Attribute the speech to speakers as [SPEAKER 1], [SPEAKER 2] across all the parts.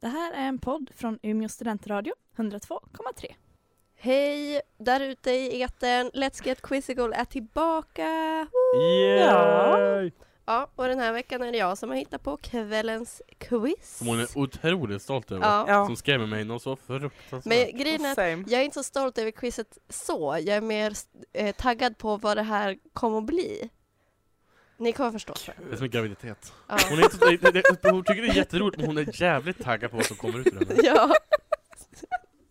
[SPEAKER 1] Det här är en podd från Umeå studentradio, 102,3.
[SPEAKER 2] Hej där ute i etern! Let's Get Quizzical är tillbaka!
[SPEAKER 3] Yay!
[SPEAKER 2] Ja, och den här veckan är det jag som har hittat på kvällens quiz.
[SPEAKER 3] Som hon är otroligt stolt över.
[SPEAKER 2] Ja,
[SPEAKER 4] Ja,
[SPEAKER 3] Som skrämmer mig något så fruktansvärt.
[SPEAKER 2] men grejen är att
[SPEAKER 4] same.
[SPEAKER 2] jag är inte så stolt över quizet så. Jag är mer eh, taggad på vad det här kommer att bli. Ni kommer förstå. tror jag.
[SPEAKER 3] Det är som en graviditet.
[SPEAKER 2] Ja.
[SPEAKER 3] Hon, är inte, det, det, det, hon tycker det är jätteroligt men hon är jävligt taggad på vad som kommer ut ur henne.
[SPEAKER 2] ja.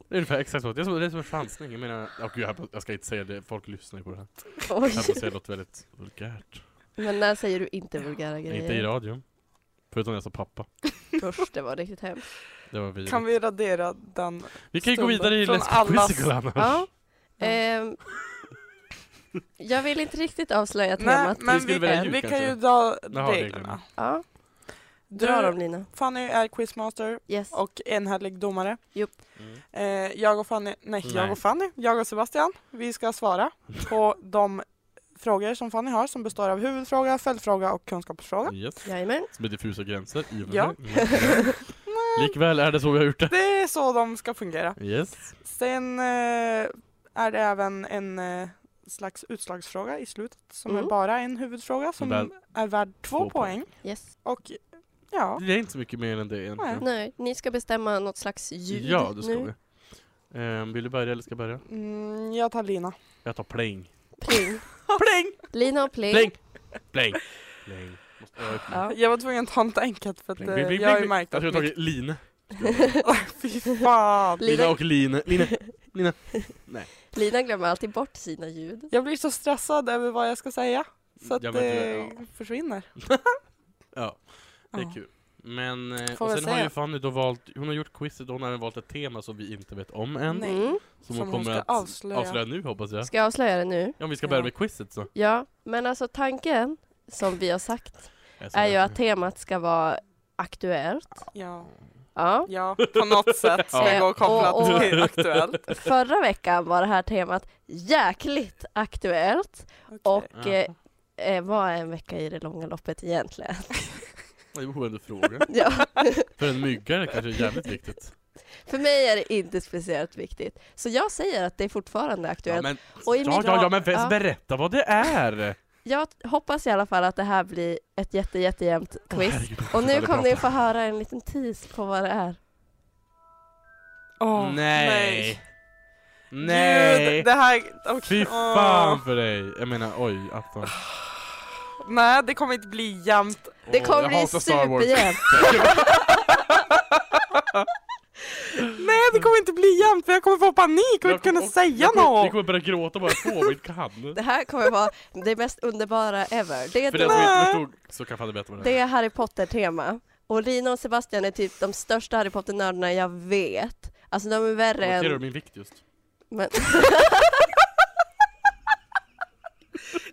[SPEAKER 3] Det är ungefär exakt så. Det är som, det är som en chansning. Jag menar, åh gud, jag, jag ska inte säga det. Folk lyssnar ju på det här.
[SPEAKER 2] Oj.
[SPEAKER 3] Jag får säga något väldigt vulgärt.
[SPEAKER 2] Men när säger du inte vulgära grejer?
[SPEAKER 3] Inte i radion. Förutom när jag sa pappa.
[SPEAKER 2] Usch, det var riktigt hemskt.
[SPEAKER 3] Det var vi.
[SPEAKER 4] Kan vi radera den?
[SPEAKER 3] Vi kan ju gå vidare i
[SPEAKER 4] Från
[SPEAKER 3] Let's
[SPEAKER 4] allas-
[SPEAKER 3] Quizzical annars.
[SPEAKER 2] Ja. Ehm, jag vill inte riktigt avslöja
[SPEAKER 4] Nej,
[SPEAKER 2] temat.
[SPEAKER 3] Vi
[SPEAKER 4] men
[SPEAKER 3] skulle
[SPEAKER 4] vi,
[SPEAKER 3] välja
[SPEAKER 4] vi,
[SPEAKER 3] ljud
[SPEAKER 4] kan
[SPEAKER 3] kanske.
[SPEAKER 4] ju dra
[SPEAKER 3] Jaha, reglerna.
[SPEAKER 4] reglerna.
[SPEAKER 2] Ja,
[SPEAKER 4] Du,
[SPEAKER 2] dra dem Lina.
[SPEAKER 4] Fanny är quizmaster
[SPEAKER 2] Yes.
[SPEAKER 4] och enhällig domare.
[SPEAKER 3] Mm.
[SPEAKER 4] Eh, jag och Fanny, nej, jag
[SPEAKER 3] Nej.
[SPEAKER 4] och Fanny, jag och Sebastian, vi ska svara på de frågor som Fanny har som består av huvudfråga, följdfråga och kunskapsfråga.
[SPEAKER 3] Yes.
[SPEAKER 2] Jajamän.
[SPEAKER 3] Med diffusa gränser. i och för
[SPEAKER 4] Ja.
[SPEAKER 3] sig. Likväl är det så vi har gjort det.
[SPEAKER 4] Det är så de ska fungera.
[SPEAKER 3] Yes.
[SPEAKER 4] Sen eh, är det även en eh, slags utslagsfråga i slutet som
[SPEAKER 2] Mm.
[SPEAKER 4] är bara en huvudfråga som
[SPEAKER 3] Värd-
[SPEAKER 4] är värd två,
[SPEAKER 3] två poäng.
[SPEAKER 4] poäng.
[SPEAKER 2] Yes.
[SPEAKER 4] Och ja,
[SPEAKER 3] Det är inte så mycket mer än det egentligen.
[SPEAKER 2] Nej, ni ska bestämma något slags ljud
[SPEAKER 3] Ja, det ska
[SPEAKER 2] nu.
[SPEAKER 3] vi. Ehm, vill du börja eller ska jag börja?
[SPEAKER 4] mm, jag tar Lina.
[SPEAKER 3] Jag tar pling.
[SPEAKER 2] Pling.
[SPEAKER 4] Pling!
[SPEAKER 2] Lina och pling.
[SPEAKER 3] Pling! Pling! Pling. Måste- ja, pling.
[SPEAKER 2] Ja.
[SPEAKER 4] Jag var tvungen att ta något enkelt för att
[SPEAKER 3] Pling,
[SPEAKER 4] eh,
[SPEAKER 3] pling, pling,
[SPEAKER 4] jag har ju
[SPEAKER 3] pling.
[SPEAKER 4] märkt
[SPEAKER 3] Jag tror
[SPEAKER 4] att...
[SPEAKER 3] jag har tagit line.
[SPEAKER 4] mitt- Fy fan!
[SPEAKER 3] Lina
[SPEAKER 2] Lina,
[SPEAKER 3] och line. Line.
[SPEAKER 2] Lina glömmer alltid bort sina ljud.
[SPEAKER 4] Jag blir så stressad över vad jag ska säga. Så att
[SPEAKER 3] Jag vet
[SPEAKER 4] det
[SPEAKER 3] inte,
[SPEAKER 4] försvinner.
[SPEAKER 3] Ja, det
[SPEAKER 4] Ja.
[SPEAKER 3] är kul. Men, eh,
[SPEAKER 4] Får
[SPEAKER 3] och
[SPEAKER 4] väl
[SPEAKER 3] sen har
[SPEAKER 4] säga.
[SPEAKER 3] ju Fanny då valt, hon har gjort quizet och hon har även valt ett tema som vi inte vet om än.
[SPEAKER 4] Nej.
[SPEAKER 2] Mm.
[SPEAKER 3] Som,
[SPEAKER 4] Som
[SPEAKER 3] hon
[SPEAKER 4] hon
[SPEAKER 3] kommer
[SPEAKER 4] ska
[SPEAKER 3] att
[SPEAKER 4] avslöja.
[SPEAKER 3] avslöja. nu hoppas jag.
[SPEAKER 2] Ska jag avslöja det nu?
[SPEAKER 3] Ja, om vi ska
[SPEAKER 4] Ja.
[SPEAKER 3] börja med quizet så.
[SPEAKER 2] Ja, men alltså tanken som vi har sagt
[SPEAKER 3] Jag ser
[SPEAKER 2] är ju
[SPEAKER 3] det.
[SPEAKER 2] att temat ska vara aktuellt.
[SPEAKER 4] Ja,
[SPEAKER 2] Ja.
[SPEAKER 4] ja på något sätt som
[SPEAKER 2] Ja.
[SPEAKER 4] går kopplat
[SPEAKER 2] Och- och-
[SPEAKER 4] till Aktuellt.
[SPEAKER 2] Förra veckan var det här temat jäkligt aktuellt och
[SPEAKER 3] Okej.
[SPEAKER 2] eh, eh, vad är en vecka i det långa loppet egentligen?
[SPEAKER 3] Det är beroende fråga.
[SPEAKER 2] Ja.
[SPEAKER 3] För en myggare kanske det är jävligt viktigt.
[SPEAKER 2] För mig är det inte speciellt viktigt. Så jag säger att det är fortfarande
[SPEAKER 3] Ja,
[SPEAKER 2] aktuellt.
[SPEAKER 3] men,
[SPEAKER 2] Och i
[SPEAKER 3] ja,
[SPEAKER 2] mitt-
[SPEAKER 3] ja, ja, men väl-
[SPEAKER 2] ja.
[SPEAKER 3] berätta vad det är!
[SPEAKER 2] Jag hoppas i alla fall att det här blir ett jätte, jättejämnt
[SPEAKER 3] Åh,
[SPEAKER 2] quiz.
[SPEAKER 3] herregud, jag
[SPEAKER 2] och nu
[SPEAKER 3] slutade
[SPEAKER 2] kommer ni
[SPEAKER 3] prata.
[SPEAKER 2] få höra en liten tease på vad det är.
[SPEAKER 4] Åh,
[SPEAKER 3] nej!
[SPEAKER 4] Gud, det här... och-
[SPEAKER 3] Fy
[SPEAKER 4] åh.
[SPEAKER 3] fan för dig! Jag menar oj, alltså. afton.
[SPEAKER 4] Nej, det kommer inte bli jämnt.
[SPEAKER 2] Det
[SPEAKER 3] Åh,
[SPEAKER 2] kommer
[SPEAKER 3] jag
[SPEAKER 2] bli
[SPEAKER 3] hatar Star Wars.
[SPEAKER 2] superjämnt.
[SPEAKER 4] Nej, det kommer inte bli jämnt för jag kommer få panik och
[SPEAKER 3] Jag
[SPEAKER 4] inte kunna
[SPEAKER 3] kommer-
[SPEAKER 4] säga
[SPEAKER 3] Jag kommer- Jag
[SPEAKER 4] något.
[SPEAKER 3] kommer börja gråta bara jag får, inte kan.
[SPEAKER 2] Det här kommer vara det mest underbara ever. Det är,
[SPEAKER 3] För
[SPEAKER 2] då-
[SPEAKER 3] den som inte förstod så kan Fanny berätta vad det
[SPEAKER 2] det
[SPEAKER 3] är.
[SPEAKER 2] är Harry Potter-tema. Och Lina och Sebastian är typ de största Harry Potter-nördarna jag vet. Alltså de är värre
[SPEAKER 3] Noterar du
[SPEAKER 2] än...
[SPEAKER 3] min vikt just?
[SPEAKER 2] Men...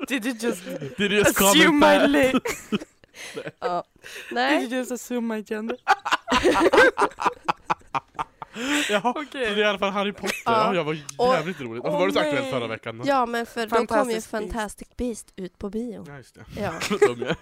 [SPEAKER 4] Did you just
[SPEAKER 3] Did you just
[SPEAKER 4] assume
[SPEAKER 3] comment
[SPEAKER 4] my
[SPEAKER 3] that?
[SPEAKER 4] li-
[SPEAKER 2] ja.
[SPEAKER 4] Did
[SPEAKER 2] Nej.
[SPEAKER 4] you just assume my gender?
[SPEAKER 3] Jaha,
[SPEAKER 4] Okej.
[SPEAKER 3] så det är i alla fall Harry Potter.
[SPEAKER 2] Ja.
[SPEAKER 3] Ja, jag var jävligt roligt. Alltså,
[SPEAKER 4] åh,
[SPEAKER 3] var det så aktuellt
[SPEAKER 4] nej.
[SPEAKER 3] förra veckan?
[SPEAKER 2] Ja men för då kom ju
[SPEAKER 4] Fantastic Beasts.
[SPEAKER 2] Fantastic Beast ut på bio.
[SPEAKER 3] Ja, just det.
[SPEAKER 2] Ja.
[SPEAKER 3] Vad dum jag är.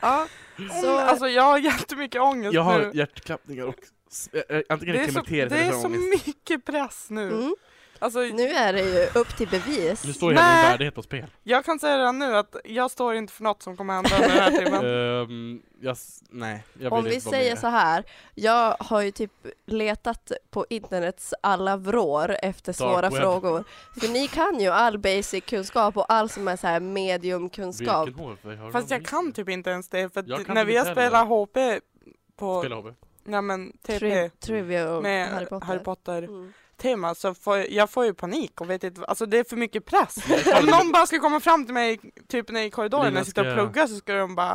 [SPEAKER 4] Ja.
[SPEAKER 2] Så-
[SPEAKER 4] Så... Alltså jag har jättemycket ångest
[SPEAKER 3] Jag har
[SPEAKER 4] nu.
[SPEAKER 3] hjärtklappningar och s- ä- ä- antingen
[SPEAKER 4] Det är så,
[SPEAKER 3] klimakteriet
[SPEAKER 4] det är
[SPEAKER 3] eller
[SPEAKER 4] så
[SPEAKER 3] ångest.
[SPEAKER 4] mycket press nu.
[SPEAKER 2] Mm.
[SPEAKER 4] Alltså,
[SPEAKER 2] Nu är det ju upp till bevis.
[SPEAKER 3] Nu står ju hela min
[SPEAKER 4] Nej.
[SPEAKER 3] värdighet på spel.
[SPEAKER 4] Jag kan säga redan nu att jag står inte för något som kommer hända under den här timmen.
[SPEAKER 3] Ehm, jag, s- nej, jag vill
[SPEAKER 2] Om vi
[SPEAKER 3] inte vara med i
[SPEAKER 2] säger
[SPEAKER 3] det.
[SPEAKER 2] så här, jag har ju typ letat på internets alla vrår efter
[SPEAKER 3] Dark
[SPEAKER 2] svåra
[SPEAKER 3] web.
[SPEAKER 2] frågor. För ni kan ju all basic kunskap och all som är så här mediumkunskap.
[SPEAKER 3] Vilken hårfärg har
[SPEAKER 4] Fast
[SPEAKER 3] du?
[SPEAKER 4] jag kan typ inte ens det för
[SPEAKER 3] Jag
[SPEAKER 4] att
[SPEAKER 3] kan typ
[SPEAKER 4] när
[SPEAKER 3] inte
[SPEAKER 4] vi har
[SPEAKER 3] heller.
[SPEAKER 4] spelat HP på,
[SPEAKER 3] Spela HB.
[SPEAKER 4] nej men TP
[SPEAKER 2] Tri trivia och
[SPEAKER 4] med
[SPEAKER 2] Harry Potter. Mm.
[SPEAKER 4] tema så får jag, jag får ju panik och vet inte, alltså det är för mycket press.
[SPEAKER 3] Jag kan-
[SPEAKER 4] Om någon bara skulle komma fram till mig typ när i korridoren när
[SPEAKER 3] Lina,
[SPEAKER 4] jag sitter och
[SPEAKER 3] ska jag-
[SPEAKER 4] pluggar så skulle de bara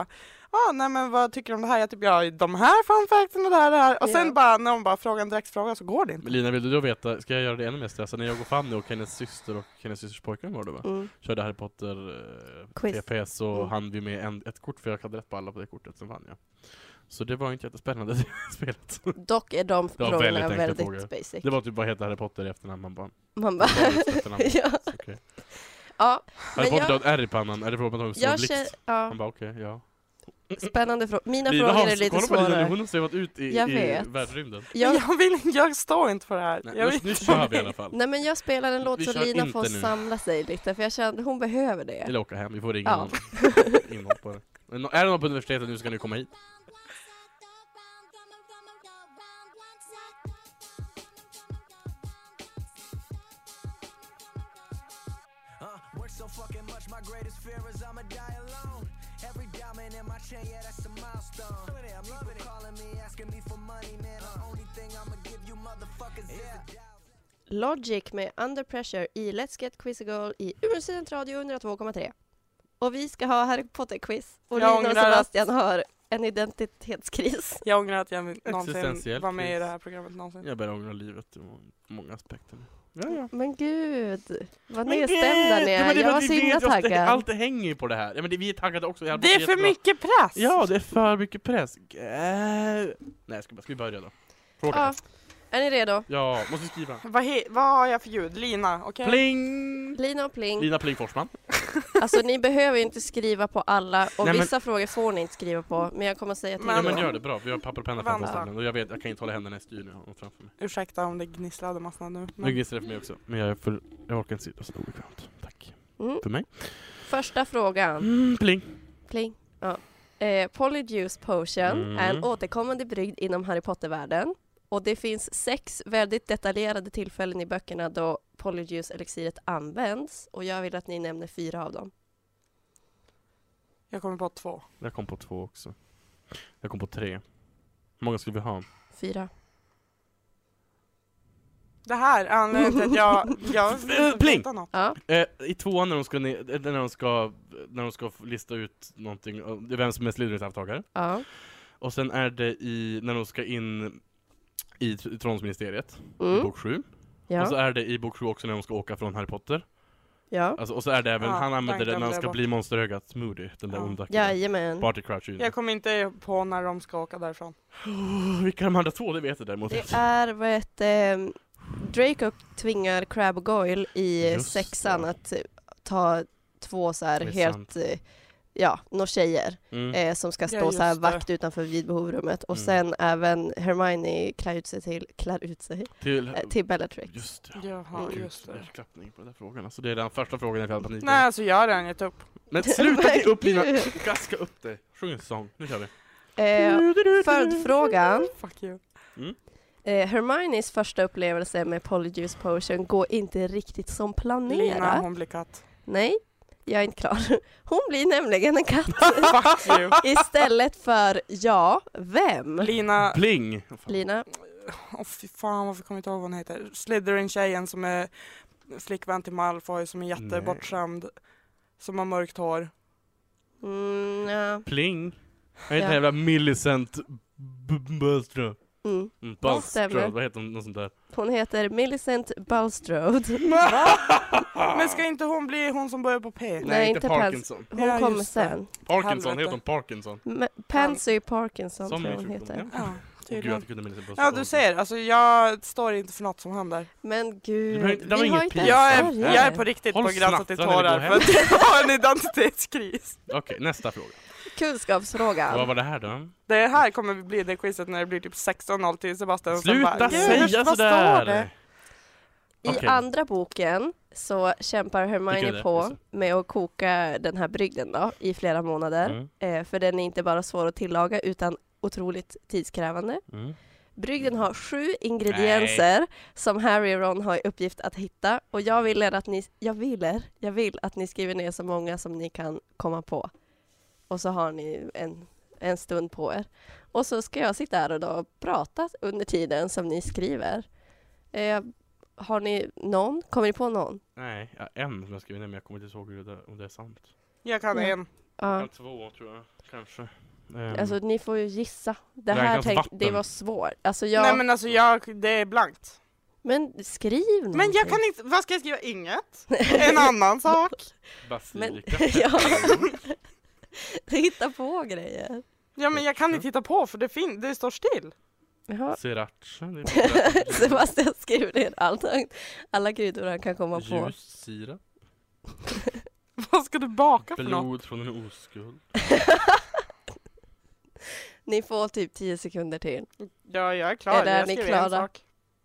[SPEAKER 4] ah, nej men vad tycker du om det här? Jag typ, ja de här fun facten och det här, det här. Och sen
[SPEAKER 2] Ja.
[SPEAKER 4] bara när de bara frågar en direktfråga så går det inte.
[SPEAKER 3] Men Lina, vill du då veta, ska jag göra det ännu mer stressad? När jag och Fanny och hennes syster och hennes systers pojkvän var det va?
[SPEAKER 2] Mm.
[SPEAKER 3] Körde Harry Potter eh,
[SPEAKER 2] Quiz.
[SPEAKER 3] TPS så
[SPEAKER 2] Mm.
[SPEAKER 3] hann vi med en, ett kort för jag hade rätt på alla på det kortet, sen vann jag. Så det var inte jättespännande det spelet.
[SPEAKER 2] Dock är de
[SPEAKER 3] var
[SPEAKER 2] frågorna
[SPEAKER 3] väldigt
[SPEAKER 2] väldigt,
[SPEAKER 3] enkla frågor.
[SPEAKER 2] basic.
[SPEAKER 3] Det var typ bara heta Harry Potter i efternamn, man bara...
[SPEAKER 2] Man bara...
[SPEAKER 3] man bara ut efternamn.
[SPEAKER 2] ja.
[SPEAKER 3] Så okej.
[SPEAKER 2] ja,
[SPEAKER 3] Harry
[SPEAKER 2] Men
[SPEAKER 3] Potter har ett R i pannan, är det för att man har en stor
[SPEAKER 2] jag
[SPEAKER 3] blixt?
[SPEAKER 2] känner... Ja.
[SPEAKER 3] Man bara okej, ja.
[SPEAKER 2] Spännande frågor. Mina
[SPEAKER 3] Lina
[SPEAKER 2] frågor är
[SPEAKER 3] Hansson,
[SPEAKER 2] lite
[SPEAKER 3] kolla på Lina,
[SPEAKER 2] svårare.
[SPEAKER 3] hon har svävat ut i,
[SPEAKER 2] Jag
[SPEAKER 3] i
[SPEAKER 2] vet.
[SPEAKER 3] världsrymden.
[SPEAKER 4] Jag,
[SPEAKER 2] Jag,
[SPEAKER 4] vill, jag står inte för det här.
[SPEAKER 3] Nej,
[SPEAKER 4] jag
[SPEAKER 3] nu,
[SPEAKER 4] vill
[SPEAKER 3] nu
[SPEAKER 4] inte
[SPEAKER 3] kör
[SPEAKER 4] vara
[SPEAKER 3] vi i
[SPEAKER 4] med.
[SPEAKER 3] alla fall.
[SPEAKER 2] nej men jag spelar en låt
[SPEAKER 3] Vi
[SPEAKER 2] så
[SPEAKER 3] kör
[SPEAKER 2] Lina
[SPEAKER 3] inte
[SPEAKER 2] får
[SPEAKER 3] nu.
[SPEAKER 2] samla sig lite, för jag känner hon behöver det.
[SPEAKER 3] Eller åka hem, vi får ringa
[SPEAKER 2] Ja.
[SPEAKER 3] någon. Ingen hopp på det. Men nå- Är det någon på universitetet nu ska ni komma hit.
[SPEAKER 5] Uh, work so fucking much, my greatest fear is I'ma die alone. Every diamond in my chain, yeah, that's a milestone. Loving it, I'm loving it. Uh. calling me, asking me for money, man. The only thing I'ma give you motherfuckers is a doubt.
[SPEAKER 2] Logic med Under Pressure i Let's Get Quiz Girl i Umeå Studentradio 102,3. Och vi ska ha Harry Potter-quiz. Och
[SPEAKER 4] Jag
[SPEAKER 2] Lina och
[SPEAKER 4] ångrar att-
[SPEAKER 2] Sebastian har en identitetskris.
[SPEAKER 4] Jag ångrar att jag någonsin
[SPEAKER 3] Existentiell
[SPEAKER 4] var med i
[SPEAKER 3] kris.
[SPEAKER 4] det här programmet någonsin.
[SPEAKER 3] Jag börjar ångra livet ur må- många aspekter. Ja, ja.
[SPEAKER 2] Men gud, vad
[SPEAKER 3] Men
[SPEAKER 2] nedstämda
[SPEAKER 3] gud!
[SPEAKER 2] ni
[SPEAKER 3] Ja,
[SPEAKER 2] är.
[SPEAKER 3] men det
[SPEAKER 2] jag
[SPEAKER 3] är för
[SPEAKER 2] var
[SPEAKER 3] att
[SPEAKER 2] så
[SPEAKER 3] vi
[SPEAKER 2] himla
[SPEAKER 3] vet ju att det-
[SPEAKER 2] taggad.
[SPEAKER 3] Allt hänger ju på det här. Ja, men det, vi är taggade också. Jag
[SPEAKER 4] Det är för mycket press!
[SPEAKER 3] Ja, det är för mycket press. Gud. Nej, jag ska, bara- ska vi börja då? Fråga.
[SPEAKER 2] Ja. Är ni redo?
[SPEAKER 3] Ja, måste vi skriva.
[SPEAKER 4] Vad, he- vad har jag för ljud? Lina, okej?
[SPEAKER 3] Pling!
[SPEAKER 2] Lina och Pling,
[SPEAKER 3] Lina Pling Forsman.
[SPEAKER 2] alltså ni behöver ju inte skriva på alla och
[SPEAKER 3] Nej, men-
[SPEAKER 2] vissa frågor får ni inte skriva på, men jag kommer säga till
[SPEAKER 4] Men-
[SPEAKER 3] Ja
[SPEAKER 2] er
[SPEAKER 3] men
[SPEAKER 2] då.
[SPEAKER 3] gör det bra, vi har papper och penna framför oss
[SPEAKER 4] Vänta.
[SPEAKER 3] nämligen. och jag vet, jag kan inte hålla händerna i styr nu jag har dem framför mig.
[SPEAKER 4] Ursäkta om det gnisslade massa nu.
[SPEAKER 3] Nu
[SPEAKER 4] Men
[SPEAKER 3] gnisslar det för mig också, men jag, är för, jag orkar inte sitta så obekvämt. Tack.
[SPEAKER 2] Mm.
[SPEAKER 3] För mig?
[SPEAKER 2] Första frågan,
[SPEAKER 3] Mm, pling!
[SPEAKER 2] Pling. Ja. Eh, Polyjuice Potion
[SPEAKER 3] Mm.
[SPEAKER 2] är en återkommande brygd inom Harry Potter-världen. Och det finns sex väldigt detaljerade tillfällen i böckerna då Polyjuice-elixiret används. Och jag vill att ni nämner fyra av dem.
[SPEAKER 4] jag kommer på två.
[SPEAKER 3] Jag kom på två också. Jag kom på tre. Hur många skulle vi ha?
[SPEAKER 2] Fyra.
[SPEAKER 4] Det här är anledningen till att jag... jag vill inte
[SPEAKER 3] Pling!
[SPEAKER 4] veta något.
[SPEAKER 2] Ja.
[SPEAKER 3] Eh, I tvåan när de ska, ne- eh, när de ska, när de ska f- lista ut någonting, om- det är vem som är Slytherins arvtagare.
[SPEAKER 2] ja.
[SPEAKER 3] Och sen är det i, när de ska in i tr- Tronsministeriet, i
[SPEAKER 2] Mm.
[SPEAKER 3] bok sju. Och så
[SPEAKER 2] Ja.
[SPEAKER 3] är det i bok sju också när de ska åka från Harry Potter.
[SPEAKER 2] Ja.
[SPEAKER 3] Alltså, och så är det även,
[SPEAKER 4] Ja,
[SPEAKER 3] han använder det när
[SPEAKER 4] den
[SPEAKER 3] han
[SPEAKER 4] glömde
[SPEAKER 3] ska
[SPEAKER 4] jag
[SPEAKER 3] bli monsterögat Moody, den där
[SPEAKER 4] Ja.
[SPEAKER 3] onda killen.
[SPEAKER 2] Jajamän.
[SPEAKER 3] Party Crouch Junior.
[SPEAKER 4] Jag kommer inte på när de ska åka därifrån.
[SPEAKER 3] Oh, vilka de andra två, det vet jag däremot
[SPEAKER 2] Det
[SPEAKER 3] inte.
[SPEAKER 2] är vad heter ehm, Draco tvingar Crab och Goyle i
[SPEAKER 3] Just
[SPEAKER 2] sexan
[SPEAKER 3] det.
[SPEAKER 2] att eh, ta två så här
[SPEAKER 3] Det är
[SPEAKER 2] helt,
[SPEAKER 3] sant.
[SPEAKER 2] eh, ja, några tjejer
[SPEAKER 3] Mm.
[SPEAKER 2] eh, som ska
[SPEAKER 4] Ja,
[SPEAKER 2] stå så här
[SPEAKER 4] just det.
[SPEAKER 2] vakt utanför vid behovrummet och
[SPEAKER 3] Mm.
[SPEAKER 2] sen även Hermione klär ut sig till, klär ut sig,
[SPEAKER 3] Till,
[SPEAKER 2] eh, till Bellatrix.
[SPEAKER 3] just det.
[SPEAKER 4] Jaha,
[SPEAKER 3] Gud,
[SPEAKER 4] just det.
[SPEAKER 3] klappning på den där frågan. Alltså, det är den första frågan jag hade panik
[SPEAKER 4] Nej, alltså jag har redan gett upp.
[SPEAKER 3] Men sluta ge upp Lina!
[SPEAKER 2] Gud.
[SPEAKER 3] Gaska upp dig! Sjung en sång, nu kör vi.
[SPEAKER 2] Eh, följdfrågan.
[SPEAKER 4] Fuck you.
[SPEAKER 2] Eh, Hermiones första upplevelse med Polyjuice Potion går inte riktigt som planerat.
[SPEAKER 4] Lina, hon blir katt.
[SPEAKER 2] Nej, jag är inte klar. Hon blir nämligen en katt.
[SPEAKER 4] Fuck you.
[SPEAKER 2] Istället för ja, vem?
[SPEAKER 4] Lina,
[SPEAKER 3] Bling! Vad fan.
[SPEAKER 2] Lina?
[SPEAKER 4] åh fy fan varför kommer jag inte ihåg vad hon heter? Slytherin-tjejen som är flickvän till Malfoy som är jättebortskämd. Som har mörkt hår.
[SPEAKER 2] Mm, ja.
[SPEAKER 3] Pling! Jag är inte
[SPEAKER 2] Ja.
[SPEAKER 3] jävla Millicent B- B- Bulstrode.
[SPEAKER 2] mm.
[SPEAKER 3] Mm,
[SPEAKER 2] Ja,
[SPEAKER 3] Bulstrode,
[SPEAKER 2] stämmer.
[SPEAKER 3] vad heter hon? Något sånt där.
[SPEAKER 2] Hon heter Millicent Bulstrode.
[SPEAKER 4] Men ska inte hon bli hon som börjar på P?
[SPEAKER 2] Nej, inte Pans.
[SPEAKER 3] Parkinson.
[SPEAKER 2] Hon
[SPEAKER 4] Ja,
[SPEAKER 2] kommer
[SPEAKER 4] just det.
[SPEAKER 2] sen.
[SPEAKER 3] Parkinson,
[SPEAKER 4] Helvete.
[SPEAKER 3] heter hon Parkinson?
[SPEAKER 2] M- Pansy Parkinson
[SPEAKER 3] Som
[SPEAKER 2] tror
[SPEAKER 3] är
[SPEAKER 2] jag hon
[SPEAKER 3] sjukdom,
[SPEAKER 2] heter.
[SPEAKER 3] ja.
[SPEAKER 4] Ja,
[SPEAKER 3] Åh gud, jag
[SPEAKER 4] tydligen.
[SPEAKER 3] kunde Millicent Bulstrode.
[SPEAKER 4] Ja, du ser. Alltså jag står inte för något som händer.
[SPEAKER 2] Men
[SPEAKER 3] Det
[SPEAKER 2] gud,
[SPEAKER 3] var ju- det var
[SPEAKER 2] vi har
[SPEAKER 3] inget
[SPEAKER 2] inte
[SPEAKER 3] pin.
[SPEAKER 2] ens
[SPEAKER 4] Jag är,
[SPEAKER 2] Sverige.
[SPEAKER 4] jag är på riktigt
[SPEAKER 3] Håll
[SPEAKER 4] på gränsen till
[SPEAKER 3] snattan när
[SPEAKER 4] tårar
[SPEAKER 3] vi
[SPEAKER 4] för
[SPEAKER 3] går
[SPEAKER 4] att jag har en identitetskris.
[SPEAKER 3] Okej, nästa fråga. Vad
[SPEAKER 2] Kunskapsfrågan.
[SPEAKER 3] var det här då?
[SPEAKER 4] Det här kommer bli det quizet när det blir typ 16-0 till Sebastian. och sen
[SPEAKER 3] Sluta
[SPEAKER 4] bara, "Gud,
[SPEAKER 3] säga
[SPEAKER 4] vad står
[SPEAKER 3] sådär!
[SPEAKER 4] det?"
[SPEAKER 2] I
[SPEAKER 3] Okej.
[SPEAKER 2] andra boken så kämpar
[SPEAKER 3] Vilken är det?
[SPEAKER 2] Hermione
[SPEAKER 3] Just
[SPEAKER 2] på
[SPEAKER 3] det.
[SPEAKER 2] med att koka den här brygden då, i flera månader.
[SPEAKER 3] Mm,
[SPEAKER 2] Eh, för den är inte bara svår att tillaga utan otroligt tidskrävande.
[SPEAKER 3] mm.
[SPEAKER 2] Brygden har sju ingredienser som Harry och Ron har i uppgift att hitta och jag vill er att ni, jag vill er, jag vill att ni skriver ner så många som ni kan komma på. Och så har ni en, en stund på er. Och så ska jag sitta här och då prata under tiden som ni skriver. Eh, har ni någon? Kommer ni på någon?
[SPEAKER 3] Nej, ja, en som jag skrev ner men jag kommer inte ihåg hur det, om det är sant.
[SPEAKER 4] Jag kan
[SPEAKER 2] Ja.
[SPEAKER 4] en.
[SPEAKER 2] Ja,
[SPEAKER 3] Ja. Två tror jag, kanske. Ehm,
[SPEAKER 2] alltså ni får ju gissa. Det här
[SPEAKER 3] Räknas
[SPEAKER 2] tänk,
[SPEAKER 3] vatten?
[SPEAKER 2] det var svårt. Alltså jag,
[SPEAKER 4] Nej
[SPEAKER 2] men,
[SPEAKER 4] men alltså jag, det är blankt.
[SPEAKER 2] skriv någonting.
[SPEAKER 4] Men jag kan inte, vad ska jag skriva? Inget? En annan sak?
[SPEAKER 3] Basilika.
[SPEAKER 2] Men- ja. hitta på grejer.
[SPEAKER 4] Ja men jag kan inte titta på för det, fin- det står still.
[SPEAKER 2] Jaha.
[SPEAKER 3] Sriracha. det är-
[SPEAKER 2] Sebastian skriver ner allt han, alla kryddor han kan komma på.
[SPEAKER 3] Ljussirap.
[SPEAKER 4] Vad ska du baka för något?
[SPEAKER 3] Blod från en oskuld.
[SPEAKER 2] Ni får typ 10 sekunder till.
[SPEAKER 4] Ja, jag är klar.
[SPEAKER 2] Är det- är
[SPEAKER 4] jag
[SPEAKER 2] ni
[SPEAKER 4] skriver
[SPEAKER 2] klara?
[SPEAKER 4] en sak.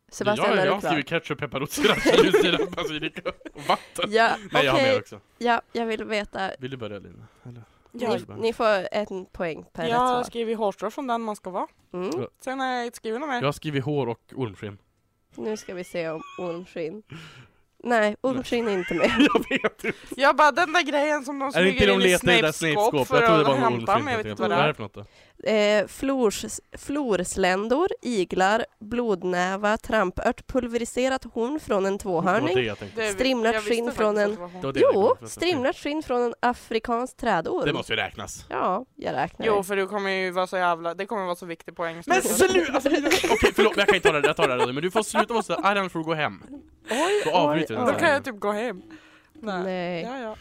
[SPEAKER 2] Sebastian,
[SPEAKER 3] jag,
[SPEAKER 2] är
[SPEAKER 3] jag
[SPEAKER 2] du
[SPEAKER 3] har
[SPEAKER 2] klar?
[SPEAKER 3] skrivit ketchup, pepparrot, sirap, chili, sirap, basilika och vatten.
[SPEAKER 2] Ja,
[SPEAKER 3] Nej, jag har
[SPEAKER 2] okej.
[SPEAKER 3] mer också.
[SPEAKER 2] Ja, jag vill veta.
[SPEAKER 3] Vill du börja Lina? Eller?
[SPEAKER 4] Ja,
[SPEAKER 2] Ni, ni får en poäng per
[SPEAKER 4] jag har
[SPEAKER 2] rätt svar.
[SPEAKER 4] skrivit hårstrå från den man ska vara.
[SPEAKER 2] Mm.
[SPEAKER 4] Sen har jag inte skrivit något mer.
[SPEAKER 3] Jag har skrivit hår och ormskinn.
[SPEAKER 2] Nu ska vi se om ormskinn. Nej, ormskinn är inte med.
[SPEAKER 3] Jag vet inte.
[SPEAKER 4] Jag bara, den där grejen som de
[SPEAKER 3] Är det inte
[SPEAKER 4] smyger
[SPEAKER 3] de
[SPEAKER 4] in i
[SPEAKER 3] letar i det där
[SPEAKER 4] Snapes skåp
[SPEAKER 3] snapeskåpet?
[SPEAKER 4] för
[SPEAKER 3] Jag trodde det var
[SPEAKER 4] att
[SPEAKER 3] en
[SPEAKER 4] hämta
[SPEAKER 3] ormskinn.
[SPEAKER 4] mig. Jag vet inte
[SPEAKER 3] vad det är för något då?
[SPEAKER 2] Eh, flors, florsländor, iglar, blodnäva, trampört, pulveriserat horn från en
[SPEAKER 3] Det var det
[SPEAKER 2] tvåhörning.
[SPEAKER 3] jag tänkte.
[SPEAKER 4] Det-
[SPEAKER 2] Strimlat
[SPEAKER 4] jag visste
[SPEAKER 2] skinn
[SPEAKER 4] faktiskt
[SPEAKER 2] från
[SPEAKER 4] att
[SPEAKER 2] en-
[SPEAKER 4] det var hon.
[SPEAKER 3] Det var det jag
[SPEAKER 2] Jo,
[SPEAKER 3] tänkte först.
[SPEAKER 2] strimlat skinn från en afrikansk trädorm.
[SPEAKER 3] Det måste ju räknas.
[SPEAKER 2] Ja, jag räknar.
[SPEAKER 4] Jo, för du kommer ju vara så jävla... Det kommer vara så viktig poäng.
[SPEAKER 3] Men sluta! Alltså, Lina- Okej, förlåt, men jag kan inte ta det. Jag tar det här, men du får sluta vara sådär. Arjan får gå hem.
[SPEAKER 2] Oj,
[SPEAKER 3] Då avbryter vi den
[SPEAKER 4] Då
[SPEAKER 3] här.
[SPEAKER 4] kan jag typ gå hem. Nej.
[SPEAKER 2] Nej.
[SPEAKER 4] Ja, ja.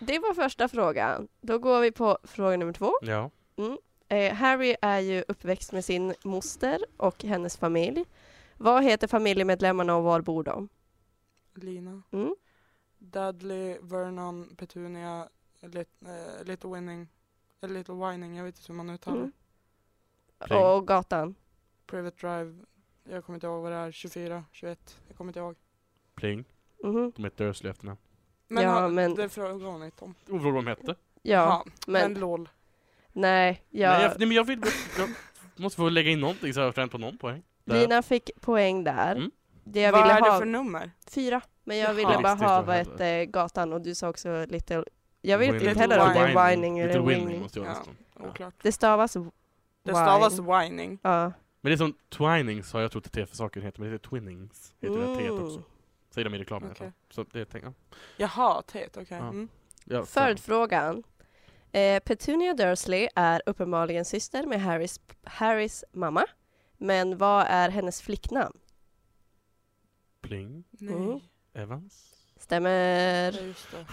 [SPEAKER 2] Det var första frågan. Då går vi på fråga nummer två.
[SPEAKER 3] Ja.
[SPEAKER 2] Eh, Harry är ju uppväxt med sin moster och hennes familj. Vad heter familjemedlemmarna och var bor de?
[SPEAKER 4] Lina.
[SPEAKER 2] Mm.
[SPEAKER 4] Dudley, Vernon, Petunia, Lit- eh, Little Winning. eh, Little Whining, jag vet inte hur man uttalar det.
[SPEAKER 2] Mm.
[SPEAKER 3] Pling.
[SPEAKER 2] Och gatan?
[SPEAKER 4] Private Drive. Jag kommer inte ihåg vad det är. 24, 21. Jag kommer inte ihåg.
[SPEAKER 3] Pling.
[SPEAKER 2] Mhm.
[SPEAKER 3] De heter Dursley i efternamn.
[SPEAKER 4] Men,
[SPEAKER 2] Ja,
[SPEAKER 4] ha-
[SPEAKER 2] men-
[SPEAKER 4] det frågade hon inte om.
[SPEAKER 3] Oroa vad de hette.
[SPEAKER 2] Ja,
[SPEAKER 4] Fan,
[SPEAKER 2] men
[SPEAKER 4] men LOL.
[SPEAKER 2] nej. Jag,
[SPEAKER 3] Nej, jag, nej, men jag vill... Jag måste få lägga in någonting så jag har tränat på någon poäng. Där.
[SPEAKER 2] Lina fick poäng där.
[SPEAKER 3] Mm.
[SPEAKER 2] Det jag
[SPEAKER 4] vad
[SPEAKER 2] ville
[SPEAKER 4] är
[SPEAKER 2] ha...
[SPEAKER 4] det för nummer?
[SPEAKER 2] Fyra. Men jag ville
[SPEAKER 4] Jaha.
[SPEAKER 2] bara
[SPEAKER 3] Visst, det
[SPEAKER 2] ha
[SPEAKER 3] tror
[SPEAKER 2] vad
[SPEAKER 3] jag
[SPEAKER 2] hette gatan och du sa också lite... Jag vet
[SPEAKER 3] Whining.
[SPEAKER 2] inte heller om det
[SPEAKER 4] Little
[SPEAKER 2] är whining eller
[SPEAKER 3] Little
[SPEAKER 2] winging.
[SPEAKER 3] Winning måste jag
[SPEAKER 4] Ja.
[SPEAKER 3] nästan. Ja.
[SPEAKER 4] Oklart.
[SPEAKER 2] Det stavas... w-
[SPEAKER 4] Det
[SPEAKER 2] wine.
[SPEAKER 4] stavas whining.
[SPEAKER 2] Ja.
[SPEAKER 3] Men det är som twinings har jag trott att T-för-saken heter, men det heter twinnings. Heter det T också. Säger de i reklamen i alla fall.
[SPEAKER 4] Okej.
[SPEAKER 3] Så det tänker jag.
[SPEAKER 4] Jaha, tet, okej.
[SPEAKER 3] Ja.
[SPEAKER 4] Mm.
[SPEAKER 3] Ja, så-
[SPEAKER 2] Följdfrågan. Eh, Petunia Dursley är uppenbarligen syster med Harrys, Harrys mamma. Men vad är hennes flicknamn?
[SPEAKER 3] Pling.
[SPEAKER 4] Nej.
[SPEAKER 2] Mm.
[SPEAKER 3] Evans.
[SPEAKER 4] Ja,
[SPEAKER 2] Stämmer.
[SPEAKER 4] just det.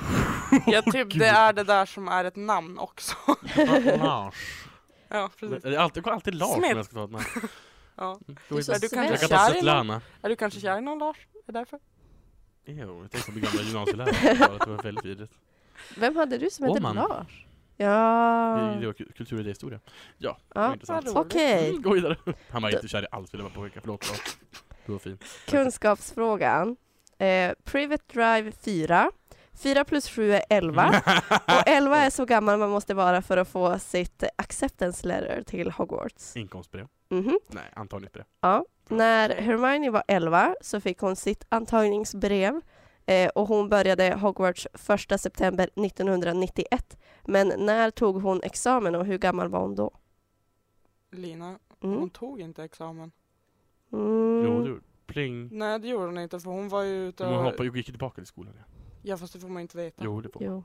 [SPEAKER 4] Jag typ, det är det där som är ett namn också.
[SPEAKER 3] Lars.
[SPEAKER 4] ja,
[SPEAKER 3] Men eh,
[SPEAKER 4] precis.
[SPEAKER 3] Det är alltid, alltid Lars om
[SPEAKER 4] Smith.
[SPEAKER 3] jag ska ta ett namn.
[SPEAKER 4] Ja.
[SPEAKER 3] Går
[SPEAKER 2] Du
[SPEAKER 3] inte.
[SPEAKER 2] sa
[SPEAKER 4] Är du kanske
[SPEAKER 3] Jag kan
[SPEAKER 2] Sven.
[SPEAKER 3] ta
[SPEAKER 4] kär i någon?
[SPEAKER 3] Svetlana.
[SPEAKER 4] Är du kanske kär i någon Lars? Är det därför?
[SPEAKER 3] Jo, jag tänkte på min gamla gymnasielärare. Det var väldigt vidrigt.
[SPEAKER 2] Vem hade du som hette
[SPEAKER 3] Åman.
[SPEAKER 2] Lars? Ja.
[SPEAKER 3] Det var kul- kultur i historia.
[SPEAKER 2] ja.
[SPEAKER 3] intressant.
[SPEAKER 4] vad roligt.
[SPEAKER 2] Okej,
[SPEAKER 3] Mm, gå vidare. Han var inte kär i alls vill jag bara påpeka. Förlåt Lars. Du var fin.
[SPEAKER 2] kunskapsfrågan. Eh, Private Drive 4. 4 plus 7 är
[SPEAKER 3] Mm.
[SPEAKER 2] 11. Och 11 är så gammal man måste vara för att få sitt acceptance letter till Hogwarts.
[SPEAKER 3] Inkomstbrev?
[SPEAKER 2] Mhm.
[SPEAKER 3] Nej, antagningsbrev.
[SPEAKER 2] När Hermione var 11 så fick hon sitt antagningsbrev eh, och hon började Hogwarts 1 september 1991. Men när tog hon examen och hur gammal var hon då?
[SPEAKER 4] Lina,
[SPEAKER 2] Mm.
[SPEAKER 4] hon tog inte examen.
[SPEAKER 2] Mm.
[SPEAKER 3] Jo, du. Pling.
[SPEAKER 4] Nej, det gjorde hon inte för hon var ju ute
[SPEAKER 3] Men hon
[SPEAKER 4] och...
[SPEAKER 3] hoppade, gick ju tillbaka till skolan. Ja.
[SPEAKER 4] Ja, fast det får man inte veta.
[SPEAKER 3] Jo, det får man.
[SPEAKER 2] Jo.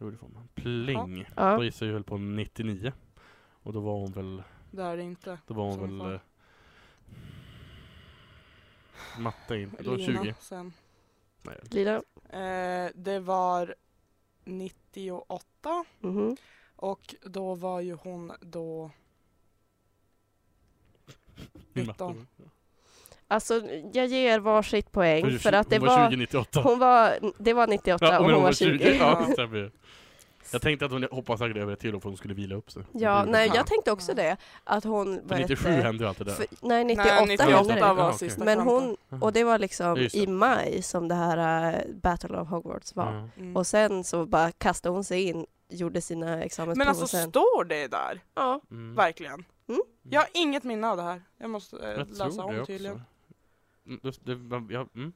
[SPEAKER 3] Jo, det får man. Pling. Då
[SPEAKER 2] Ja.
[SPEAKER 3] gissade jag höll på 99. Och då var hon väl...
[SPEAKER 4] Det är det inte.
[SPEAKER 3] Då var hon
[SPEAKER 4] Som
[SPEAKER 3] väl...
[SPEAKER 4] fan.
[SPEAKER 3] eh, Matte inte. Då var
[SPEAKER 4] Lina
[SPEAKER 3] 20.
[SPEAKER 4] sen.
[SPEAKER 3] Nej,
[SPEAKER 2] Lina?
[SPEAKER 4] Eh, det var 98
[SPEAKER 2] Mhm.
[SPEAKER 4] och då var ju hon då...
[SPEAKER 3] i
[SPEAKER 4] 19.
[SPEAKER 2] Alltså, jag ger varsitt
[SPEAKER 3] Hon var
[SPEAKER 2] poäng för att det
[SPEAKER 3] Hon var
[SPEAKER 2] var...
[SPEAKER 3] 2098.
[SPEAKER 2] Hon var, det var 98
[SPEAKER 3] Ja,
[SPEAKER 2] och hon, var 20.
[SPEAKER 3] Ja, det stämmer ju. Jag tänkte att hon hoppas säkert över ett till år för hon skulle vila upp sig.
[SPEAKER 2] Ja,
[SPEAKER 3] Det-
[SPEAKER 2] nej,
[SPEAKER 4] Ja.
[SPEAKER 2] jag tänkte också det. Att hon...
[SPEAKER 3] För
[SPEAKER 2] vad
[SPEAKER 3] 97
[SPEAKER 2] heter-
[SPEAKER 3] hände ju allt det där.
[SPEAKER 2] För, nej, 98
[SPEAKER 4] Nej,
[SPEAKER 2] hände
[SPEAKER 4] 98
[SPEAKER 2] det.
[SPEAKER 3] Ja,
[SPEAKER 4] var
[SPEAKER 3] okej.
[SPEAKER 4] sista
[SPEAKER 2] Men
[SPEAKER 4] kampen.
[SPEAKER 2] hon, och det var liksom
[SPEAKER 3] Just det.
[SPEAKER 2] i maj som det här eh, Battle of Hogwarts var.
[SPEAKER 3] Ja.
[SPEAKER 4] Mm.
[SPEAKER 2] Och sen så bara kastade hon sig in, gjorde sina examensprov
[SPEAKER 4] Men alltså
[SPEAKER 2] och sen...
[SPEAKER 4] står det där?
[SPEAKER 2] Ja.
[SPEAKER 3] Mm.
[SPEAKER 4] Verkligen.
[SPEAKER 2] Mm.
[SPEAKER 4] Jag har inget minne av det här. Jag måste eh,
[SPEAKER 3] Jag
[SPEAKER 4] läsa
[SPEAKER 3] tror
[SPEAKER 4] om
[SPEAKER 3] det
[SPEAKER 4] tydligen.
[SPEAKER 3] också. Mm, Det, det, var- ja, mm.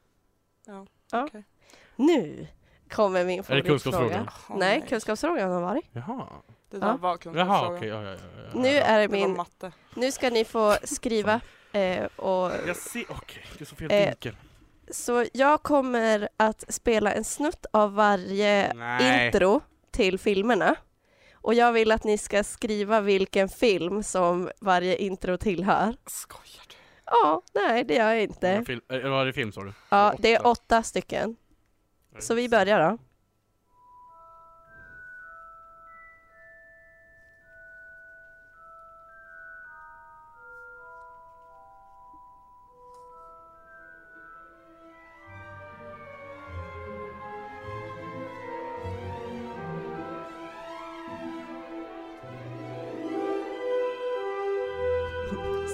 [SPEAKER 2] Nu kommer min
[SPEAKER 3] Är det
[SPEAKER 2] favoritfråga.
[SPEAKER 3] kunskapsfrågan?
[SPEAKER 4] Åh,
[SPEAKER 2] Nej, kunskapsfrågan har varit.
[SPEAKER 3] Jaha.
[SPEAKER 4] Det där
[SPEAKER 2] Ja.
[SPEAKER 4] var
[SPEAKER 3] Jaha,
[SPEAKER 4] kunskapsfrågan.
[SPEAKER 3] okej. Ja, ja, ja, ja, ja.
[SPEAKER 2] Nu är det
[SPEAKER 4] Det var
[SPEAKER 2] min...
[SPEAKER 4] matte.
[SPEAKER 2] Nu ska ni få skriva. Eh, och,
[SPEAKER 3] Jag ser, okej. Det är så fel
[SPEAKER 2] Eh,
[SPEAKER 3] vinkel.
[SPEAKER 2] så jag kommer att spela en snutt av varje
[SPEAKER 3] Nej.
[SPEAKER 2] intro till filmerna. Och jag vill att ni ska skriva vilken film som varje intro tillhör.
[SPEAKER 4] Skojar du?
[SPEAKER 2] Ja, nej det gör jag
[SPEAKER 3] Det var
[SPEAKER 2] inte.
[SPEAKER 3] Film, eh, var det film sa du?
[SPEAKER 2] Ja, det är åtta stycken. Så vi börjar då.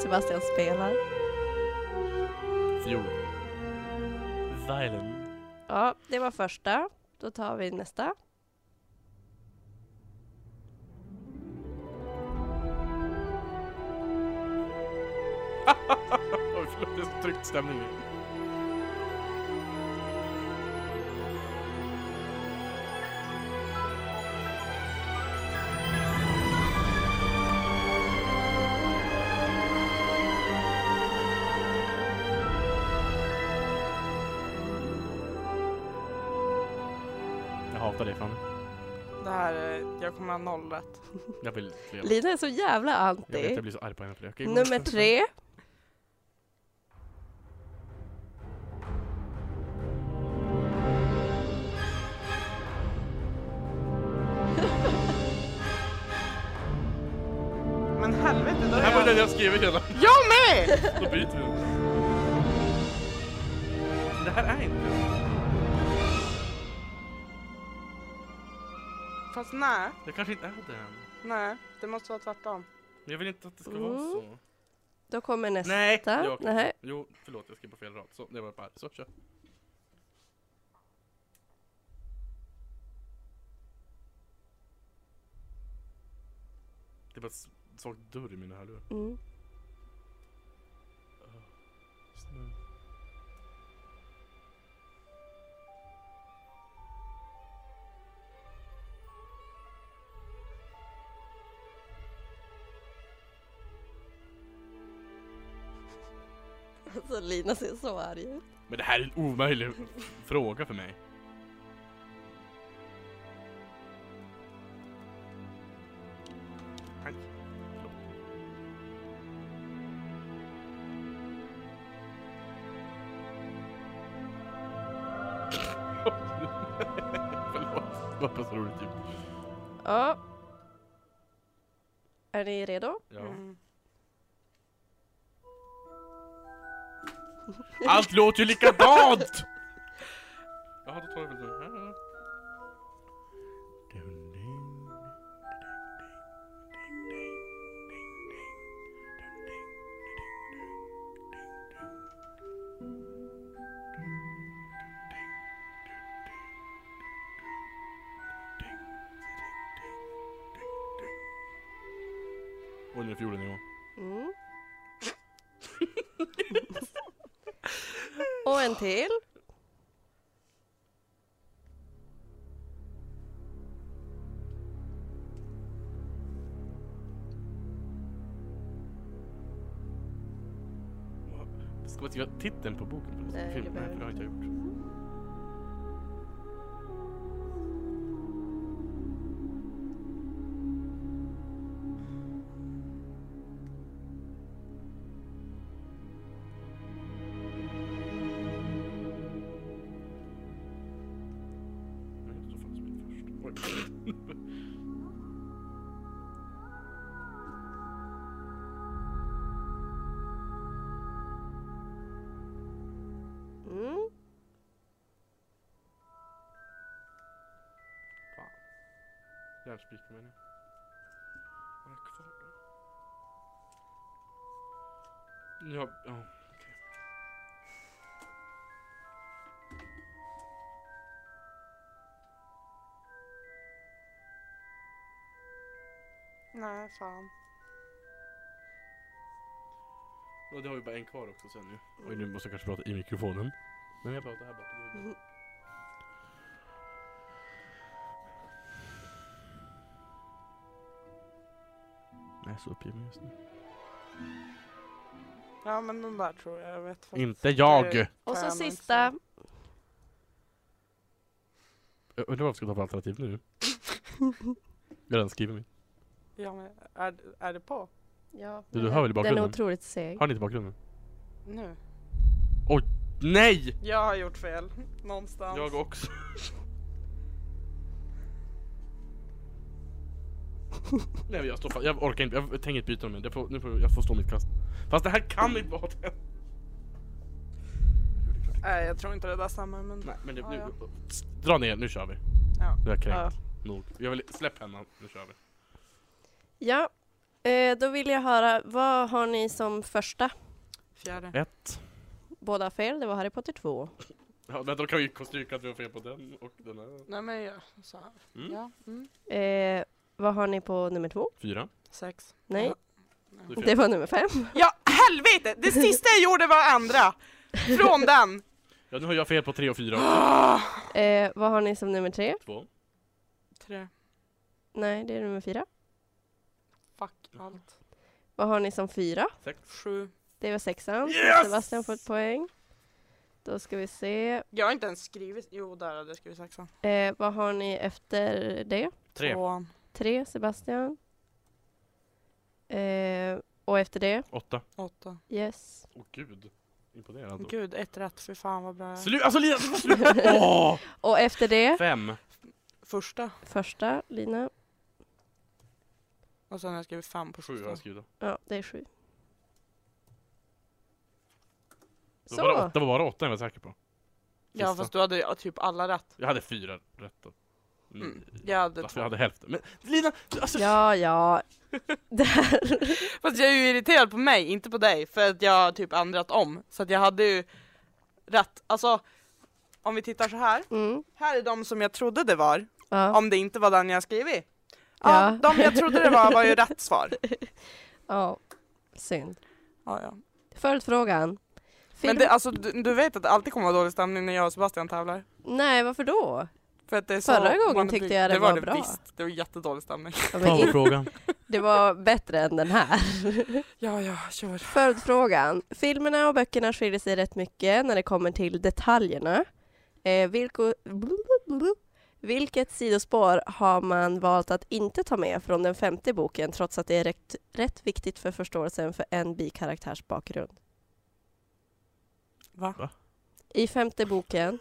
[SPEAKER 2] Sebastian spelar.
[SPEAKER 3] Fjol. Violin.
[SPEAKER 2] Ja, det var första. Då tar vi nästa.
[SPEAKER 3] Oj, förlåt, det är så tryckt stämning. Jag hatar det fan.
[SPEAKER 4] Det här, är- jag kommer ha noll rätt.
[SPEAKER 3] Jag vill leva.
[SPEAKER 2] Lina är så jävla
[SPEAKER 3] Jag vet,
[SPEAKER 2] anti.
[SPEAKER 3] jag blir så arg på henne för det. Okej, gå
[SPEAKER 2] Nummer
[SPEAKER 3] nästa.
[SPEAKER 2] tre.
[SPEAKER 4] Men helvete, då
[SPEAKER 3] Det
[SPEAKER 4] är
[SPEAKER 3] här var den
[SPEAKER 4] jag...
[SPEAKER 3] jag skrev hela.
[SPEAKER 4] Jag med!
[SPEAKER 3] Då byter vi. Men Det här är inte...
[SPEAKER 4] Fast nej,
[SPEAKER 3] Det kanske inte är den.
[SPEAKER 4] nej. Det måste vara tvärtom.
[SPEAKER 3] Men jag vill inte att det ska
[SPEAKER 2] Mm.
[SPEAKER 3] vara så.
[SPEAKER 2] Då kommer nästa.
[SPEAKER 3] Nej! Jag,
[SPEAKER 2] Nej.
[SPEAKER 3] Jo, förlåt jag skrev på fel rad. Så, det var bara så, kör. Det var ett s- svagt dörr i mina hörlurar.
[SPEAKER 2] Mm.
[SPEAKER 3] Snö.
[SPEAKER 2] Alltså Lina ser så arg ut.
[SPEAKER 3] Men det här är en omöjlig fråga för mig. Aj. Förlåt. Förlåt, vad passar roligt typ.
[SPEAKER 2] Ja. Är ni redo?
[SPEAKER 3] Ja.
[SPEAKER 4] Mm.
[SPEAKER 3] Allt låter ju likadant! Jaha, då tar jag väl den här. Oj, nu är fiolen igång.
[SPEAKER 2] Mm. Och en till.
[SPEAKER 3] Ska man skriva titeln på boken? förresten?
[SPEAKER 2] Nej, det
[SPEAKER 3] Film? Nej,
[SPEAKER 2] behöver
[SPEAKER 3] för det har inte jag gjort. Nej, det står fan som är först. Oj.
[SPEAKER 2] Mm.
[SPEAKER 3] Fan. Järnspik menar jag. Var det kvar då? Ja, ja. okej.
[SPEAKER 4] Nej, fan.
[SPEAKER 3] Och det har vi bara en kvar också sen nu. Oj, nu måste jag kanske prata i mikrofonen. Men jag pratar här bak. då är det bra. Jag är så uppgiven just nu.
[SPEAKER 4] Ja, men den där tror jag. Jag vet faktiskt
[SPEAKER 3] Inte jag!
[SPEAKER 4] Det-
[SPEAKER 2] Och så
[SPEAKER 4] Fan
[SPEAKER 2] sista.
[SPEAKER 4] också.
[SPEAKER 3] Jag undrar vad vi ska ta för alternativ nu. Jag har redan skrivit mitt.
[SPEAKER 4] Ja, men är, är det på?
[SPEAKER 2] Ja,
[SPEAKER 3] Du, du hör väl i
[SPEAKER 2] den är
[SPEAKER 3] bakgrunden?
[SPEAKER 2] otroligt seg.
[SPEAKER 3] Har ni inte bakgrunden?
[SPEAKER 4] Nu?
[SPEAKER 3] Nej!
[SPEAKER 4] Jag har gjort fel. Någonstans.
[SPEAKER 3] Jag också. Nej men jag står fast, jag orkar inte, jag tänker inte byta dem nu. Jag får, nu får jag får stå mitt kast. Fast det här kan inte vara det.
[SPEAKER 4] Nej, jag tror inte det där stämmer, men...
[SPEAKER 3] Nej men det,
[SPEAKER 4] Ja,
[SPEAKER 3] nu,
[SPEAKER 4] ja.
[SPEAKER 3] dra ner, nu kör vi.
[SPEAKER 4] Ja.
[SPEAKER 3] Nu är jag kränkt
[SPEAKER 4] Ja.
[SPEAKER 3] nog. Jag vill, släpp henne, nu kör vi.
[SPEAKER 2] Ja, Eh, då vill jag höra, vad har ni som första?
[SPEAKER 4] Fjärde.
[SPEAKER 3] Ett.
[SPEAKER 2] Båda har fel, det var Harry Potter 2.
[SPEAKER 3] Ja, men då kan vi ju styrka att vi har fel på den och den här.
[SPEAKER 4] Nej men jag så här.
[SPEAKER 3] Mm.
[SPEAKER 4] Ja. Mm.
[SPEAKER 2] Eh, vad har ni på nummer två?
[SPEAKER 3] Fyra.
[SPEAKER 4] Sex.
[SPEAKER 2] Nej,
[SPEAKER 3] Det är fel.
[SPEAKER 2] det var nummer fem.
[SPEAKER 4] Ja, helvete! Det sista jag gjorde var andra! Från den!
[SPEAKER 3] Ja, nu har jag fel på tre och fyra och
[SPEAKER 2] Eh, vad har ni som nummer tre?
[SPEAKER 3] två.
[SPEAKER 4] Tre.
[SPEAKER 2] Nej, det är nummer fyra.
[SPEAKER 4] Fuck allt.
[SPEAKER 2] Vad har ni som fyra?
[SPEAKER 3] Sex.
[SPEAKER 4] Sju.
[SPEAKER 2] Det var sexan.
[SPEAKER 3] Yes!
[SPEAKER 2] Sebastian får ett poäng. Då ska vi se.
[SPEAKER 4] Jag har inte ens skrivit... Jo, där hade jag skrivit sexan.
[SPEAKER 2] Eh, vad har ni efter det?
[SPEAKER 3] Tre.
[SPEAKER 4] Tvåan.
[SPEAKER 2] Tre, Sebastian. Eh, och efter det?
[SPEAKER 3] Åtta.
[SPEAKER 4] Åtta.
[SPEAKER 2] Yes.
[SPEAKER 3] Åh gud. Imponerande.
[SPEAKER 4] Gud, ett rätt. Fy fan vad bra jag är.
[SPEAKER 3] Slut! Alltså Lina, sluta! Åh!
[SPEAKER 2] Och efter det?
[SPEAKER 3] Fem.
[SPEAKER 4] Första.
[SPEAKER 2] Första, Lina.
[SPEAKER 4] Och sen har jag skrivit fem på
[SPEAKER 3] Sju har jag
[SPEAKER 4] sista.
[SPEAKER 3] skrivit.
[SPEAKER 2] Ja, det är sju.
[SPEAKER 3] Det var, bara
[SPEAKER 2] Så!
[SPEAKER 3] åtta, det var bara åtta jag var säker på.
[SPEAKER 4] Ja,
[SPEAKER 3] Sista.
[SPEAKER 4] fast du hade ju typ alla rätt.
[SPEAKER 3] Jag hade fyra rätt då.
[SPEAKER 4] Mm. Jag hade
[SPEAKER 3] Alltså, jag
[SPEAKER 4] två.
[SPEAKER 3] hade hälften. Men Lina! du- Alltså,
[SPEAKER 2] Ja, ja. Det här.
[SPEAKER 4] Fast jag är ju irriterad på mig, inte på dig, för att jag har typ ändrat om. Så att jag hade ju rätt. Alltså, om vi tittar så här.
[SPEAKER 2] Mm.
[SPEAKER 4] Här är de som jag trodde det var,
[SPEAKER 2] Ja.
[SPEAKER 4] om det inte var den jag skrivit.
[SPEAKER 2] Ja.
[SPEAKER 4] Ja, de jag trodde det var var ju rätt svar.
[SPEAKER 2] ja. Synd.
[SPEAKER 4] Ja, ja.
[SPEAKER 2] Följdfrågan. Film...
[SPEAKER 4] Men det, alltså, du, du vet att det alltid kommer vara dålig stämning när jag och Sebastian tävlar?
[SPEAKER 2] Nej, varför då?
[SPEAKER 4] För att det är
[SPEAKER 2] Förra
[SPEAKER 4] så
[SPEAKER 2] gången
[SPEAKER 4] man-
[SPEAKER 2] tyckte jag det
[SPEAKER 4] var
[SPEAKER 2] var
[SPEAKER 4] det
[SPEAKER 2] bra.
[SPEAKER 4] Visst, det var jättedålig stämning.
[SPEAKER 2] Ja, men in-
[SPEAKER 3] Powerfråga.
[SPEAKER 2] det var bättre än den här.
[SPEAKER 4] Ja, ja, kör.
[SPEAKER 2] Följdfrågan. Filmerna och böckerna skiljer sig rätt mycket när det kommer till detaljerna. Eh, vilko, vilket sidospår har man valt att inte ta med från den femte boken trots att det är rätt, rätt viktigt för förståelsen för en bikaraktärs bakgrund?
[SPEAKER 4] Va?
[SPEAKER 3] Va?
[SPEAKER 2] I femte boken,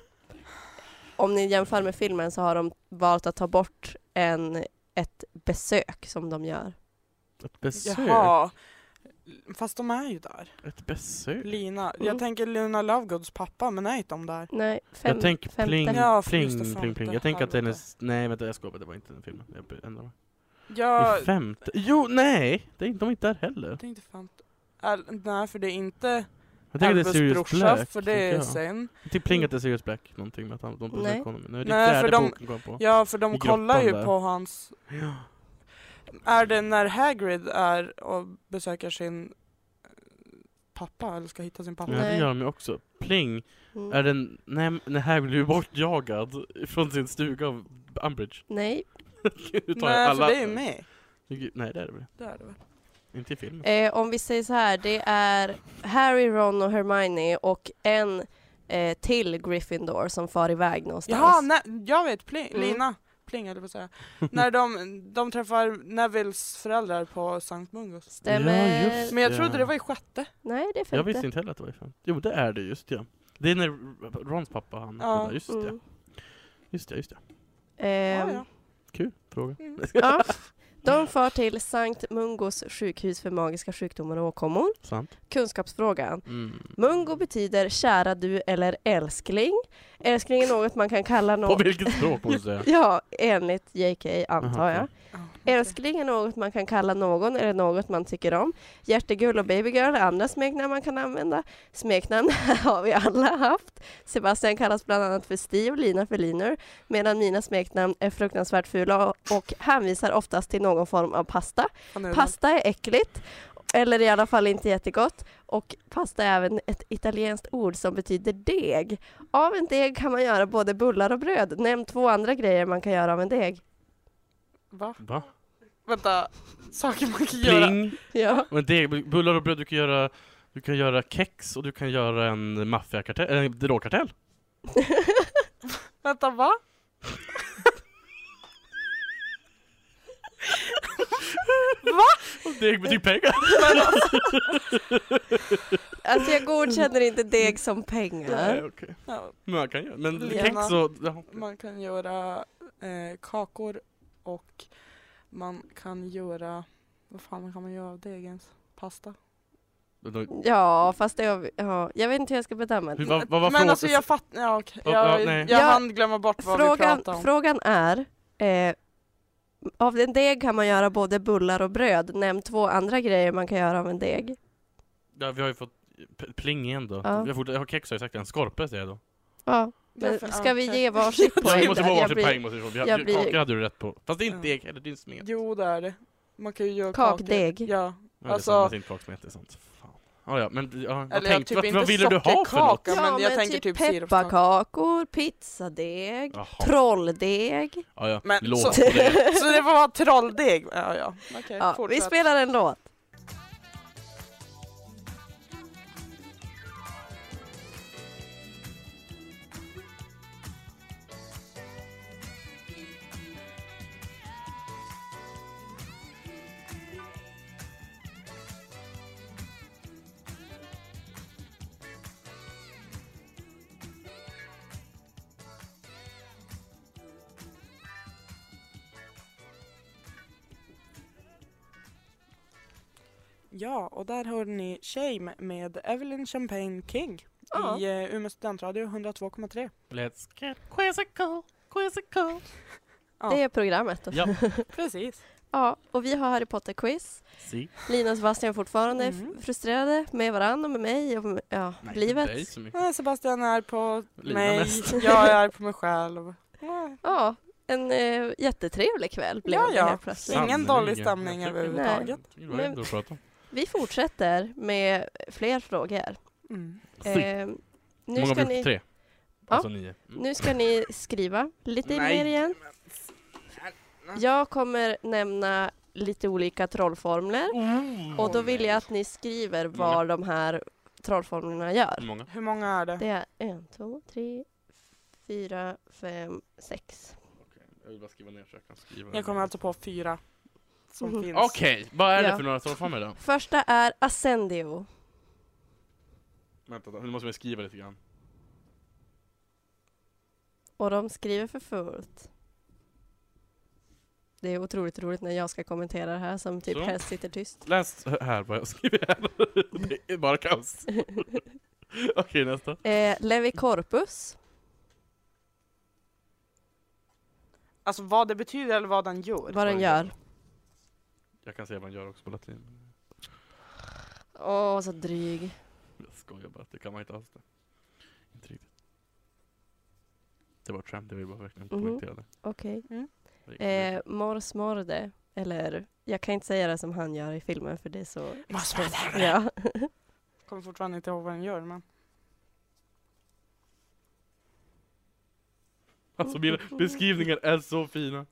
[SPEAKER 2] om ni jämför med filmen, så har de valt att ta bort en, ett besök som de gör.
[SPEAKER 3] Ett besök.
[SPEAKER 4] Jaha. Fast de är ju där.
[SPEAKER 3] Ett besök.
[SPEAKER 4] Lina.
[SPEAKER 2] Mm.
[SPEAKER 4] Jag tänker Luna Lovegoods pappa, men är inte de där?
[SPEAKER 2] Nej, fem,
[SPEAKER 3] Jag tänker
[SPEAKER 2] femte.
[SPEAKER 3] pling,
[SPEAKER 4] Ja, för just det,
[SPEAKER 3] pling, pling,
[SPEAKER 4] femte,
[SPEAKER 3] pling. Jag tänker att den är...
[SPEAKER 4] helvete.
[SPEAKER 3] s- Nej vänta jag skojar, det var inte den filmen. Jag ändrar mig.
[SPEAKER 4] Ja,
[SPEAKER 3] I femte? Jo, nej! Det är inte, de är inte där heller.
[SPEAKER 4] det är inte femte. Äl- nej, för det är inte
[SPEAKER 3] Jag tänker att det är
[SPEAKER 4] Elvis
[SPEAKER 3] Sirius
[SPEAKER 4] brorsa,
[SPEAKER 3] Black.
[SPEAKER 4] för det är
[SPEAKER 3] tänker jag.
[SPEAKER 4] sen.
[SPEAKER 3] Jag tycker pling att det är Sirius Black, någonting med att han, de
[SPEAKER 2] Nej.
[SPEAKER 3] besöker honom. Nu är det
[SPEAKER 4] Nej, för
[SPEAKER 3] fjärde
[SPEAKER 4] de-
[SPEAKER 3] boken kom på.
[SPEAKER 4] Ja, för
[SPEAKER 3] I
[SPEAKER 4] de kollar ju
[SPEAKER 3] grottan där.
[SPEAKER 4] på hans...
[SPEAKER 3] Ja.
[SPEAKER 4] Är det när Hagrid är och besöker sin eh, pappa, eller ska hitta sin pappa?
[SPEAKER 3] Ja, det
[SPEAKER 2] Nej.
[SPEAKER 3] gör de ju också. Pling
[SPEAKER 2] Mm.
[SPEAKER 3] är den... Nej, nej här blir ju bortjagad från sin stuga av Umbridge.
[SPEAKER 2] Nej,
[SPEAKER 3] Nu tar jag
[SPEAKER 4] Nej, för
[SPEAKER 3] alla...
[SPEAKER 4] det är ju med.
[SPEAKER 3] Nej, det är det väl
[SPEAKER 4] Det är det väl.
[SPEAKER 3] inte. i filmen.
[SPEAKER 2] Eh, om vi säger så här, det är Harry, Ron och Hermione och en eh, till Gryffindor som far iväg någonstans.
[SPEAKER 4] Jaha, nej, jag vet, pling,
[SPEAKER 2] Mm.
[SPEAKER 4] Lina. Pling eller vad säger jag. När de, de träffar Nevilles föräldrar på St. Mungus.
[SPEAKER 2] Stämmer.
[SPEAKER 3] Ja, just
[SPEAKER 4] Men jag
[SPEAKER 3] det.
[SPEAKER 4] trodde det var i sjätte.
[SPEAKER 2] Nej, det är
[SPEAKER 3] Jag
[SPEAKER 2] femte.
[SPEAKER 3] visste inte heller att det var i femte. Jo, det är det just ja. Det är när Rons pappa han
[SPEAKER 4] Ja.
[SPEAKER 3] ja. Just det,
[SPEAKER 2] Mm.
[SPEAKER 3] just det, just det.
[SPEAKER 2] Ehm,
[SPEAKER 4] Ja, ja.
[SPEAKER 3] Kul fråga.
[SPEAKER 4] Mm.
[SPEAKER 2] ja. De far till Sankt Mungos sjukhus för magiska sjukdomar och åkommor.
[SPEAKER 3] Sant.
[SPEAKER 2] Kunskapsfrågan.
[SPEAKER 3] Mm.
[SPEAKER 2] Mungo betyder kära du eller älskling. Älskling är något man kan kalla
[SPEAKER 3] På
[SPEAKER 2] någon...
[SPEAKER 3] vilket språk måste jag säga?
[SPEAKER 2] Ja, enligt JK antar
[SPEAKER 3] Aha,
[SPEAKER 2] jag.
[SPEAKER 3] okej.
[SPEAKER 4] Ja.
[SPEAKER 2] Älskling är något man kan kalla någon eller något man tycker om. Hjärtegull och babygirl är andra smeknamn man kan använda. Smeknamn har vi alla haft. Sebastian kallas bland annat för Steve och Lina för Linur, medan mina smeknamn är fruktansvärt fula och hänvisar oftast till någon form av pasta.
[SPEAKER 4] Fan, nu-
[SPEAKER 2] Pasta är äckligt, eller i alla fall inte jättegott. Och pasta är även ett italienskt ord som betyder deg. Av en deg kan man göra både bullar och bröd. Nämn två andra grejer man kan göra av en deg.
[SPEAKER 4] Va?
[SPEAKER 3] Va?
[SPEAKER 4] Vänta, saker man kan göra.
[SPEAKER 3] Pling!
[SPEAKER 2] Ja.
[SPEAKER 3] Men det, bullar och bröd, du kan göra du kan göra kex och du kan göra en maffiakartell, eh, en drogkartell.
[SPEAKER 4] Vänta, va?
[SPEAKER 3] Och Det betyder pengar!
[SPEAKER 2] Alltså jag godkänner inte deg som pengar.
[SPEAKER 3] Nej, okej.
[SPEAKER 4] Ja,
[SPEAKER 3] Men man kan göra, men
[SPEAKER 4] Lena.
[SPEAKER 3] kex och... Ja.
[SPEAKER 4] man kan göra eh, kakor och man kan göra... Vad fan kan man göra av degens? Pasta?
[SPEAKER 2] Ja, fast det har vi, ja, jag vet inte hur jag ska bedöma
[SPEAKER 3] Hur,
[SPEAKER 2] det.
[SPEAKER 3] vad, vad var
[SPEAKER 4] Men
[SPEAKER 3] frågan?
[SPEAKER 4] alltså jag fattar... Ja, okej.
[SPEAKER 3] Ja, ja,
[SPEAKER 4] jag,
[SPEAKER 3] nej.
[SPEAKER 4] jag
[SPEAKER 2] Ja,
[SPEAKER 4] hann glömma bort vad vi
[SPEAKER 2] Frågan,
[SPEAKER 4] pratade om.
[SPEAKER 2] frågan är, eh, Av en deg kan man göra både bullar och bröd. Nämn två andra grejer man kan göra av en deg.
[SPEAKER 3] Ja, vi har ju fått p- pling igen då.
[SPEAKER 2] Ja.
[SPEAKER 3] Jag, har fort, jag har kex har jag sagt en skorpe säger jag då.
[SPEAKER 2] Ja.
[SPEAKER 4] Därför-
[SPEAKER 2] Men ska vi
[SPEAKER 4] okej.
[SPEAKER 2] ge varsitt
[SPEAKER 3] Ja,
[SPEAKER 2] poäng?
[SPEAKER 3] vi måste
[SPEAKER 2] där?
[SPEAKER 3] få
[SPEAKER 2] Jag
[SPEAKER 3] varsin
[SPEAKER 2] blir-
[SPEAKER 3] poäng måste vi få. Vi-
[SPEAKER 2] jag blir-
[SPEAKER 3] Kakor hade du rätt på. Fast det är inte
[SPEAKER 4] Ja.
[SPEAKER 3] deg heller, det är en smet.
[SPEAKER 4] Jo, det är det. Man kan ju göra
[SPEAKER 2] Kakdeg.
[SPEAKER 4] kakor. Ja.
[SPEAKER 3] Ja, det alltså...
[SPEAKER 4] Alltså-
[SPEAKER 3] samlas inte kaksmet, det är sant. Fan. Ja, ja, men ja, jag
[SPEAKER 4] Eller jag
[SPEAKER 3] tänkte,
[SPEAKER 4] typ
[SPEAKER 3] vad,
[SPEAKER 4] inte
[SPEAKER 3] vad ville du ha för något?
[SPEAKER 4] sockerkaka, men jag tänker typ sirupskaka.
[SPEAKER 2] pepparkakor, pizzadeg,
[SPEAKER 3] Jaha.
[SPEAKER 2] trolldeg.
[SPEAKER 3] Ja, ja.
[SPEAKER 4] Men
[SPEAKER 3] Låt
[SPEAKER 4] så-
[SPEAKER 3] på det.
[SPEAKER 4] Så det får vara trolldeg. Ja, ja. Okej,
[SPEAKER 2] Ja, vi
[SPEAKER 4] Eh, fortsätt.
[SPEAKER 2] spelar en låt.
[SPEAKER 4] Ja, och där hörde ni Shame med Evelyn Champagne King
[SPEAKER 2] Ja.
[SPEAKER 4] i eh, Umeå studentradio 102,3.
[SPEAKER 3] Let's get quizzical, quizzical.
[SPEAKER 4] Ja.
[SPEAKER 2] Det är programmet. då.
[SPEAKER 3] Ja,
[SPEAKER 4] Precis.
[SPEAKER 2] Ja, och vi har Harry Potter-quiz.
[SPEAKER 3] si.
[SPEAKER 2] Lina och Sebastian är fortfarande
[SPEAKER 4] Mm.
[SPEAKER 2] f- frustrerade med varandra och med mig och med, ja,
[SPEAKER 3] Nej, inte dig
[SPEAKER 2] livet.
[SPEAKER 3] så mycket.
[SPEAKER 4] Nej, Sebastian är på
[SPEAKER 3] Lina
[SPEAKER 4] mig,
[SPEAKER 3] mest.
[SPEAKER 4] jag är på mig själv. Ja.
[SPEAKER 2] Ja, en eh, jättetrevlig kväll blev
[SPEAKER 4] Ja,
[SPEAKER 2] det
[SPEAKER 4] ja.
[SPEAKER 2] helt plötsligt.
[SPEAKER 4] Ingen
[SPEAKER 3] Sannerligen.
[SPEAKER 4] dålig stämning
[SPEAKER 3] Jag tycker-
[SPEAKER 4] överhuvudtaget.
[SPEAKER 3] Jag tycker Det var
[SPEAKER 2] Men-
[SPEAKER 3] ändå att prata om.
[SPEAKER 2] Vi fortsätter med fler frågor.
[SPEAKER 4] Mm.
[SPEAKER 3] Fy,
[SPEAKER 2] Eh, nu,
[SPEAKER 3] många
[SPEAKER 2] ska
[SPEAKER 3] brukar
[SPEAKER 2] ni,
[SPEAKER 3] tre. Alltså nio. Mm.
[SPEAKER 2] nu ska ni skriva lite mer igen. Jag kommer nämna lite olika trollformler
[SPEAKER 3] Mm.
[SPEAKER 4] Oh,
[SPEAKER 2] och då vill jag att ni skriver vad de här trollformlerna
[SPEAKER 3] Hur
[SPEAKER 2] gör.
[SPEAKER 3] många?
[SPEAKER 4] Hur många är det?
[SPEAKER 2] Det är en, två, tre, fyra, fem, sex.
[SPEAKER 3] Jag vill bara skriva ner så jag kan skriva.
[SPEAKER 4] Jag kommer alltså på fyra som
[SPEAKER 3] Mm-hmm.
[SPEAKER 2] Mhm.
[SPEAKER 4] finns.
[SPEAKER 3] Okej, vad är det
[SPEAKER 2] Ja.
[SPEAKER 3] för några trollformler då?
[SPEAKER 2] Första är Ascendio.
[SPEAKER 3] Vänta, då, nu måste jag skriva lite grann.
[SPEAKER 2] Och de skriver för fullt. Det är otroligt roligt när jag ska kommentera det här som typ
[SPEAKER 3] Så.
[SPEAKER 2] helst sitter tyst.
[SPEAKER 3] Läs här vad jag skriver här. Det är bara kaos. Okej, nästa.
[SPEAKER 2] Eh, Levicorpus.
[SPEAKER 4] Alltså vad det betyder eller vad den gör.
[SPEAKER 2] Vad den gör.
[SPEAKER 3] Jag kan säga vad han gör också på latin.
[SPEAKER 2] Åh, så dryg.
[SPEAKER 3] Jag skojar bara, det kan man inte alls det. Inte riktigt. Det var ett skämt, det vill jag bara verkligen
[SPEAKER 2] Mhm.
[SPEAKER 3] poängtera det.
[SPEAKER 2] Okej.
[SPEAKER 3] det. gick inte.
[SPEAKER 2] Eh, Mors Morde. Eller, jag kan inte säga det som han gör i filmen för det är så...
[SPEAKER 4] Måste vara där.
[SPEAKER 2] Ja.
[SPEAKER 4] Kommer fortfarande inte ihåg vad den gör men.
[SPEAKER 3] Alltså mina
[SPEAKER 2] mhm.
[SPEAKER 3] beskrivningar är så fina.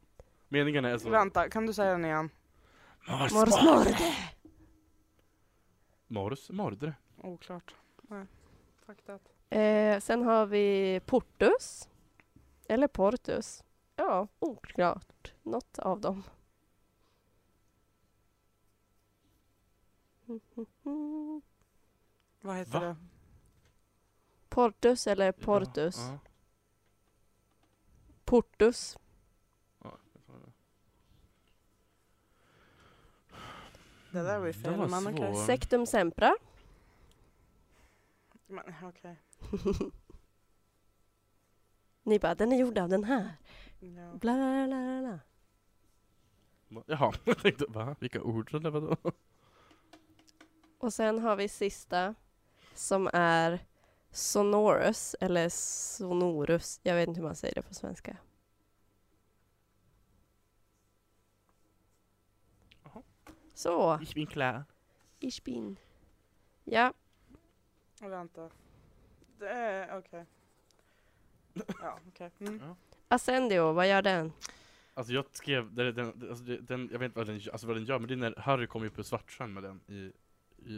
[SPEAKER 3] Meningarna är så... Ah,
[SPEAKER 4] Vänta, kan du säga den igen?
[SPEAKER 3] Mars,
[SPEAKER 2] Mors Morde.
[SPEAKER 3] Mars mordre.
[SPEAKER 4] Oklart. Nej. Faktat.
[SPEAKER 2] Eh, sen har vi Portus. Eller Portus. Ja, oklart. Något av dem. Mhm.
[SPEAKER 4] Vad heter
[SPEAKER 3] Va?
[SPEAKER 4] det?
[SPEAKER 2] Portus eller Portus.
[SPEAKER 3] Ja,
[SPEAKER 2] Portus.
[SPEAKER 3] ja, jag sa det.
[SPEAKER 4] Det där var ju
[SPEAKER 3] Den
[SPEAKER 4] fel.
[SPEAKER 3] var
[SPEAKER 4] men okej.
[SPEAKER 3] svår.
[SPEAKER 2] Sectum Sempra.
[SPEAKER 4] Men okej.
[SPEAKER 2] Ni bara, den är gjord av den här.
[SPEAKER 4] Ja.
[SPEAKER 2] Bla, bla, bla, bla, bla.
[SPEAKER 3] Va? Jaha, jag tänkte va? Vilka ord eller vadå?
[SPEAKER 2] Och sen har vi sista som är Sonorus eller Sonorus. Jag vet inte hur man säger det på svenska.
[SPEAKER 3] Jaha.
[SPEAKER 2] Så,
[SPEAKER 3] Ich bin klar.
[SPEAKER 2] ich bin. Ja,
[SPEAKER 4] Och Vänta. Det är okej. Ja, okej. Mm.
[SPEAKER 2] Ascendio, vad gör den?
[SPEAKER 3] Alltså jag skrev, den, den, alltså det- den, jag vet inte vad den, alltså vad den gör, men det är när Harry kommer upp ur Svartsjön med den i, i,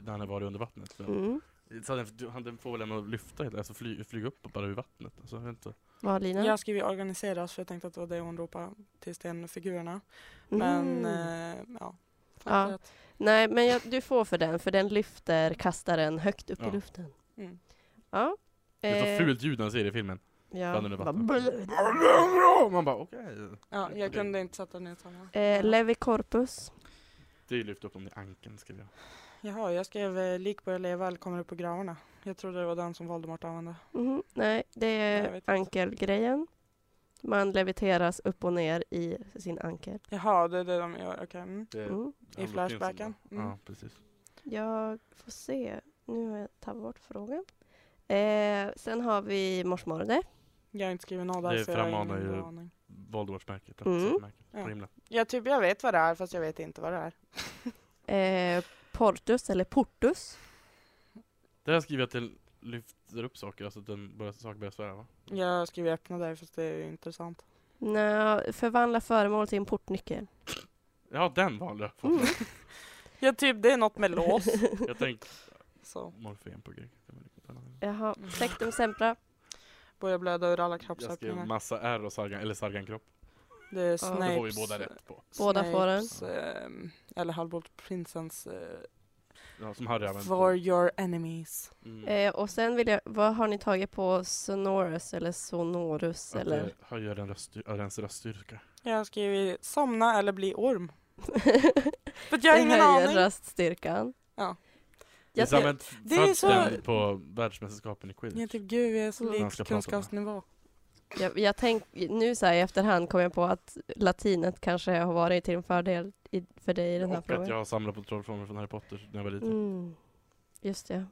[SPEAKER 3] när han har varit under vattnet. Så,
[SPEAKER 2] Mm.
[SPEAKER 3] så den, du- han, den får väl ändå lyfta, helt- alltså fly, flyga upp bara ur vattnet. Alltså, jag vet inte.
[SPEAKER 2] Vad har Lina?
[SPEAKER 4] Jag skrev ju organisera oss för jag tänkte att det var det hon ropade till stenfigurerna. Men
[SPEAKER 2] Mm.
[SPEAKER 4] eh, ja. Faktat.
[SPEAKER 2] Nej, men jag, du får för den, för den lyfter kastaren högt upp i
[SPEAKER 3] Ja.
[SPEAKER 2] luften.
[SPEAKER 4] Mm.
[SPEAKER 2] Ja.
[SPEAKER 3] Det är
[SPEAKER 2] eh,
[SPEAKER 3] så fult ljud när han säger det i filmen.
[SPEAKER 2] Ja.
[SPEAKER 3] bland under
[SPEAKER 2] Bara
[SPEAKER 3] vatten.
[SPEAKER 2] blö.
[SPEAKER 3] Man bara okej.
[SPEAKER 4] Ja, jag kunde inte sätta ner samma.
[SPEAKER 2] Eh, Levicorpus.
[SPEAKER 3] Det är ju lyft upp dem i ankeln skrev jag.
[SPEAKER 4] Jaha, jag skrev eh, lik börjar leva eller kommer upp på gravarna. Jag trodde det var den som Voldemort använde.
[SPEAKER 2] Mhm, Mm-hmm. Nej, det
[SPEAKER 4] jag
[SPEAKER 2] är
[SPEAKER 4] vet inte.
[SPEAKER 2] ankelgrejen. Man leviteras upp och ner i sin ankel.
[SPEAKER 4] Jaha, det är det de gör. Okej. Mm.
[SPEAKER 3] Det,
[SPEAKER 2] Mm.
[SPEAKER 3] det handlar om
[SPEAKER 4] Flashbacken.
[SPEAKER 3] det. Ja,
[SPEAKER 4] Mm.
[SPEAKER 3] precis.
[SPEAKER 2] Jag får se. Nu har jag tappat bort frågan. Eh, sen har vi morsmordet.
[SPEAKER 4] Jag har inte skrivit något där
[SPEAKER 3] Det
[SPEAKER 4] så jag har
[SPEAKER 3] frammanar
[SPEAKER 4] ingen
[SPEAKER 3] ju-
[SPEAKER 4] aning.
[SPEAKER 3] Voldemortsmärket.
[SPEAKER 2] Mm.
[SPEAKER 3] Mm.
[SPEAKER 4] Ja.
[SPEAKER 3] Ja.
[SPEAKER 4] Ja, typ jag vet vad det är fast jag vet inte vad det är.
[SPEAKER 2] Eh, Portus eller Portus.
[SPEAKER 3] Det här skriver jag till lyfter upp saker, alltså att den börjar, saker börjar svära va?
[SPEAKER 4] Jag skriver öppna där fast det är ju intressant.
[SPEAKER 2] Nå, förvandla föremål till en portnyckel.
[SPEAKER 3] Ja, den valde jag.
[SPEAKER 2] Mm.
[SPEAKER 4] Ja, typ det är något med lås.
[SPEAKER 3] Jag tänkte
[SPEAKER 4] Så.
[SPEAKER 3] morfen på grek. Det var lite spännande.
[SPEAKER 2] Jaha, sektum sempra.
[SPEAKER 4] Börjar blöda ur alla
[SPEAKER 3] Jag skrev
[SPEAKER 4] kroppsöppningar.
[SPEAKER 3] massa R och sargan, eller sargankropp.
[SPEAKER 4] Det är
[SPEAKER 2] Ja.
[SPEAKER 4] Snapes.
[SPEAKER 3] Det var vi båda rätt på.
[SPEAKER 2] Båda får den.
[SPEAKER 4] Snapes, ehm, eller halvblodprinsens eh,
[SPEAKER 3] Ja, som Harry använt.
[SPEAKER 4] For your enemies.
[SPEAKER 3] Mm.
[SPEAKER 2] Eh, och sen vill jag, vad har ni tagit på Sonorus eller Sonorus
[SPEAKER 3] Att
[SPEAKER 2] eller?
[SPEAKER 3] det höjer en röst, ens röststyrka.
[SPEAKER 4] Jag har skrivit somna eller bli orm. För att jag har
[SPEAKER 2] det
[SPEAKER 4] ingen
[SPEAKER 2] höjer
[SPEAKER 4] aning.
[SPEAKER 2] röststyrkan.
[SPEAKER 4] Ja.
[SPEAKER 3] Det är
[SPEAKER 2] Jag
[SPEAKER 3] som
[SPEAKER 2] ser,
[SPEAKER 3] en
[SPEAKER 4] det är så-
[SPEAKER 3] fötten på världsmästerskapen i
[SPEAKER 4] Jag är
[SPEAKER 3] quidditch.
[SPEAKER 4] typ gud, jag är så
[SPEAKER 2] Mm.
[SPEAKER 3] Man ska
[SPEAKER 4] lik
[SPEAKER 3] prata om det.
[SPEAKER 4] kunskapsnivå.
[SPEAKER 2] jag, jag tänk, nu så här i efterhand kom jag på att latinet kanske har varit till en fördel i, för dig i den här
[SPEAKER 3] Och
[SPEAKER 2] frågan.
[SPEAKER 3] att jag samlar på trollformler från Harry Potter när jag var liten.
[SPEAKER 2] Mm. Just det.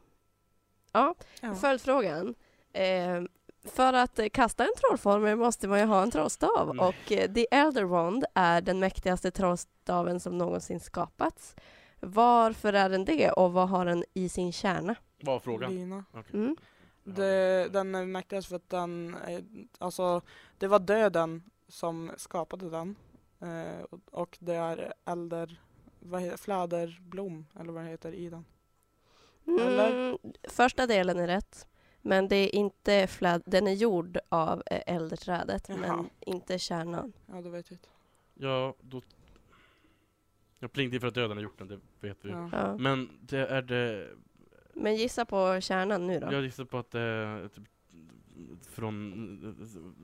[SPEAKER 4] Ja.
[SPEAKER 2] Följdfrågan. Eh, för att eh, kasta en trollformel måste man ju ha en trollstav
[SPEAKER 3] Nej.
[SPEAKER 2] och eh, The Elder Wand är den mäktigaste trollstaven som någonsin skapats. Varför är den det och vad har den i sin kärna?
[SPEAKER 3] Vad var frågan?
[SPEAKER 4] Lina.
[SPEAKER 2] Mm.
[SPEAKER 4] Det, den märktes för att den, eh, alltså det var döden som skapade den. Eh, och- och det är elder, vad heter, fläderblom eller vad det heter i den.
[SPEAKER 2] Mm,
[SPEAKER 4] Eller?
[SPEAKER 2] första delen är rätt. Men det är inte fläd, den är gjord av eh, äldreträdet
[SPEAKER 4] Jaha.
[SPEAKER 2] men inte kärnan.
[SPEAKER 4] Ja, du vet ut.
[SPEAKER 3] Ja, då... Jag plingde för att döden har gjort den, det vet vi ju.
[SPEAKER 4] Ja.
[SPEAKER 2] Ja.
[SPEAKER 3] Men det är det...
[SPEAKER 2] Men gissa på kärnan nu då.
[SPEAKER 3] Jag gissar på att det är typ från...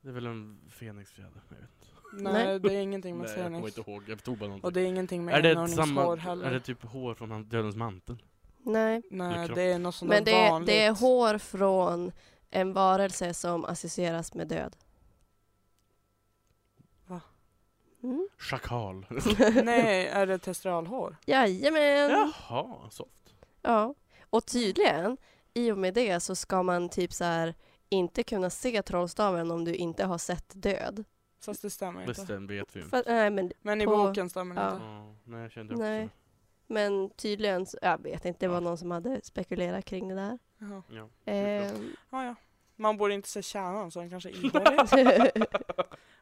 [SPEAKER 3] Det är väl en fenixfjäder, jag vet inte.
[SPEAKER 4] Nej,
[SPEAKER 2] Nej.
[SPEAKER 4] det är ingenting med
[SPEAKER 3] Nej, jag kommer
[SPEAKER 4] Fenix.
[SPEAKER 3] inte ihåg, jag tog bara någonting.
[SPEAKER 4] Och det är ingenting med
[SPEAKER 3] är det
[SPEAKER 4] enhörningshår
[SPEAKER 3] samma,
[SPEAKER 4] heller.
[SPEAKER 3] är det typ hår från han- dödens mantel?
[SPEAKER 2] Nej.
[SPEAKER 3] eller
[SPEAKER 4] Nej,
[SPEAKER 3] kropp?
[SPEAKER 4] det är något sånt
[SPEAKER 2] Men
[SPEAKER 4] där
[SPEAKER 2] det, är-
[SPEAKER 4] vanligt.
[SPEAKER 2] det är hår från en varelse som associeras med död.
[SPEAKER 4] Va?
[SPEAKER 2] Mm.
[SPEAKER 3] Schakal.
[SPEAKER 4] Nej, är det testralhår?
[SPEAKER 2] Jajamän! Ja.
[SPEAKER 3] Jaha, soft.
[SPEAKER 2] Och tydligen, i och med det så ska man typ så här inte kunna se trollstaven om du inte har sett död.
[SPEAKER 4] Fast det stämmer
[SPEAKER 3] Visst,
[SPEAKER 4] inte.
[SPEAKER 3] den vet vi ju inte.
[SPEAKER 2] För, nej, men,
[SPEAKER 4] Men i
[SPEAKER 2] på-
[SPEAKER 4] boken stämmer det
[SPEAKER 2] ja.
[SPEAKER 4] inte.
[SPEAKER 3] Ja, nej, jag kände också.
[SPEAKER 2] Nej. men tydligen, så, jag vet inte, det var
[SPEAKER 3] Ja.
[SPEAKER 2] någon som hade spekulerat kring det där.
[SPEAKER 4] Jaha.
[SPEAKER 3] Ja.
[SPEAKER 2] Ehm,
[SPEAKER 4] Ja, ja. Man borde inte se kärnan så den kanske ingår i.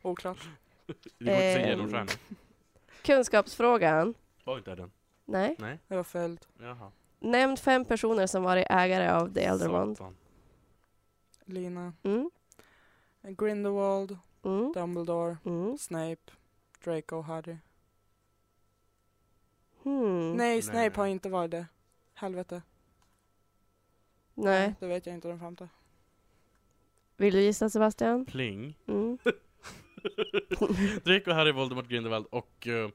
[SPEAKER 4] Oklart.
[SPEAKER 3] Det går inte så
[SPEAKER 2] Ehm.
[SPEAKER 4] Eh.
[SPEAKER 3] genomskinligt.
[SPEAKER 2] kunskapsfrågan.
[SPEAKER 3] Var inte den?
[SPEAKER 2] Nej.
[SPEAKER 3] Nej?
[SPEAKER 4] Det var följd.
[SPEAKER 3] Jaha.
[SPEAKER 2] Nämn fem personer som varit ägare av The Elder Wand.
[SPEAKER 3] Satan.
[SPEAKER 4] Lina.
[SPEAKER 2] Mm,
[SPEAKER 4] Grindelwald.
[SPEAKER 2] mm,
[SPEAKER 4] Dumbledore.
[SPEAKER 2] mm.
[SPEAKER 4] Snape. Draco. Harry.
[SPEAKER 2] Hmm.
[SPEAKER 4] Nej,
[SPEAKER 3] Nej.
[SPEAKER 4] Snape har inte varit det. Helvete.
[SPEAKER 2] Nej.
[SPEAKER 4] Det vet jag inte den femte.
[SPEAKER 2] Vill du gissa Sebastian?
[SPEAKER 3] Pling.
[SPEAKER 2] Mm.
[SPEAKER 3] Draco, Harry, Voldemort, Grindelwald och eh,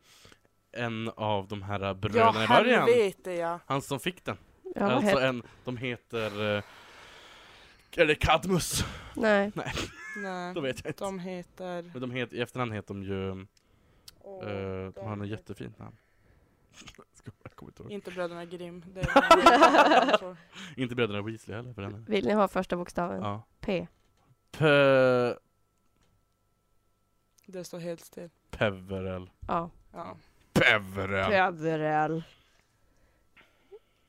[SPEAKER 3] en av de här
[SPEAKER 4] Ja,
[SPEAKER 3] bröderna i början.
[SPEAKER 4] helvete ja.
[SPEAKER 3] Han som fick den.
[SPEAKER 2] Ja, vad
[SPEAKER 3] alltså
[SPEAKER 2] het.
[SPEAKER 3] en, de heter... eh, Eller Cadmus.
[SPEAKER 2] Nej.
[SPEAKER 4] Nej.
[SPEAKER 3] Då vet jag inte.
[SPEAKER 4] De heter...
[SPEAKER 3] Men de heter, i efterhand heter de ju... eh,
[SPEAKER 4] Åh,
[SPEAKER 3] de har
[SPEAKER 4] de-
[SPEAKER 3] en jättefint namn. Ska- jag kommer inte ihåg.
[SPEAKER 4] Inte bröderna Grimm. Det är
[SPEAKER 3] Inte bröderna Weasley heller för den. här.
[SPEAKER 2] Vill ni ha första bokstaven?
[SPEAKER 3] Ja.
[SPEAKER 2] P.
[SPEAKER 3] Pe...
[SPEAKER 4] det står helt still.
[SPEAKER 3] Peverell.
[SPEAKER 2] Ja.
[SPEAKER 4] Ja.
[SPEAKER 3] Peverell!
[SPEAKER 2] Pöverell.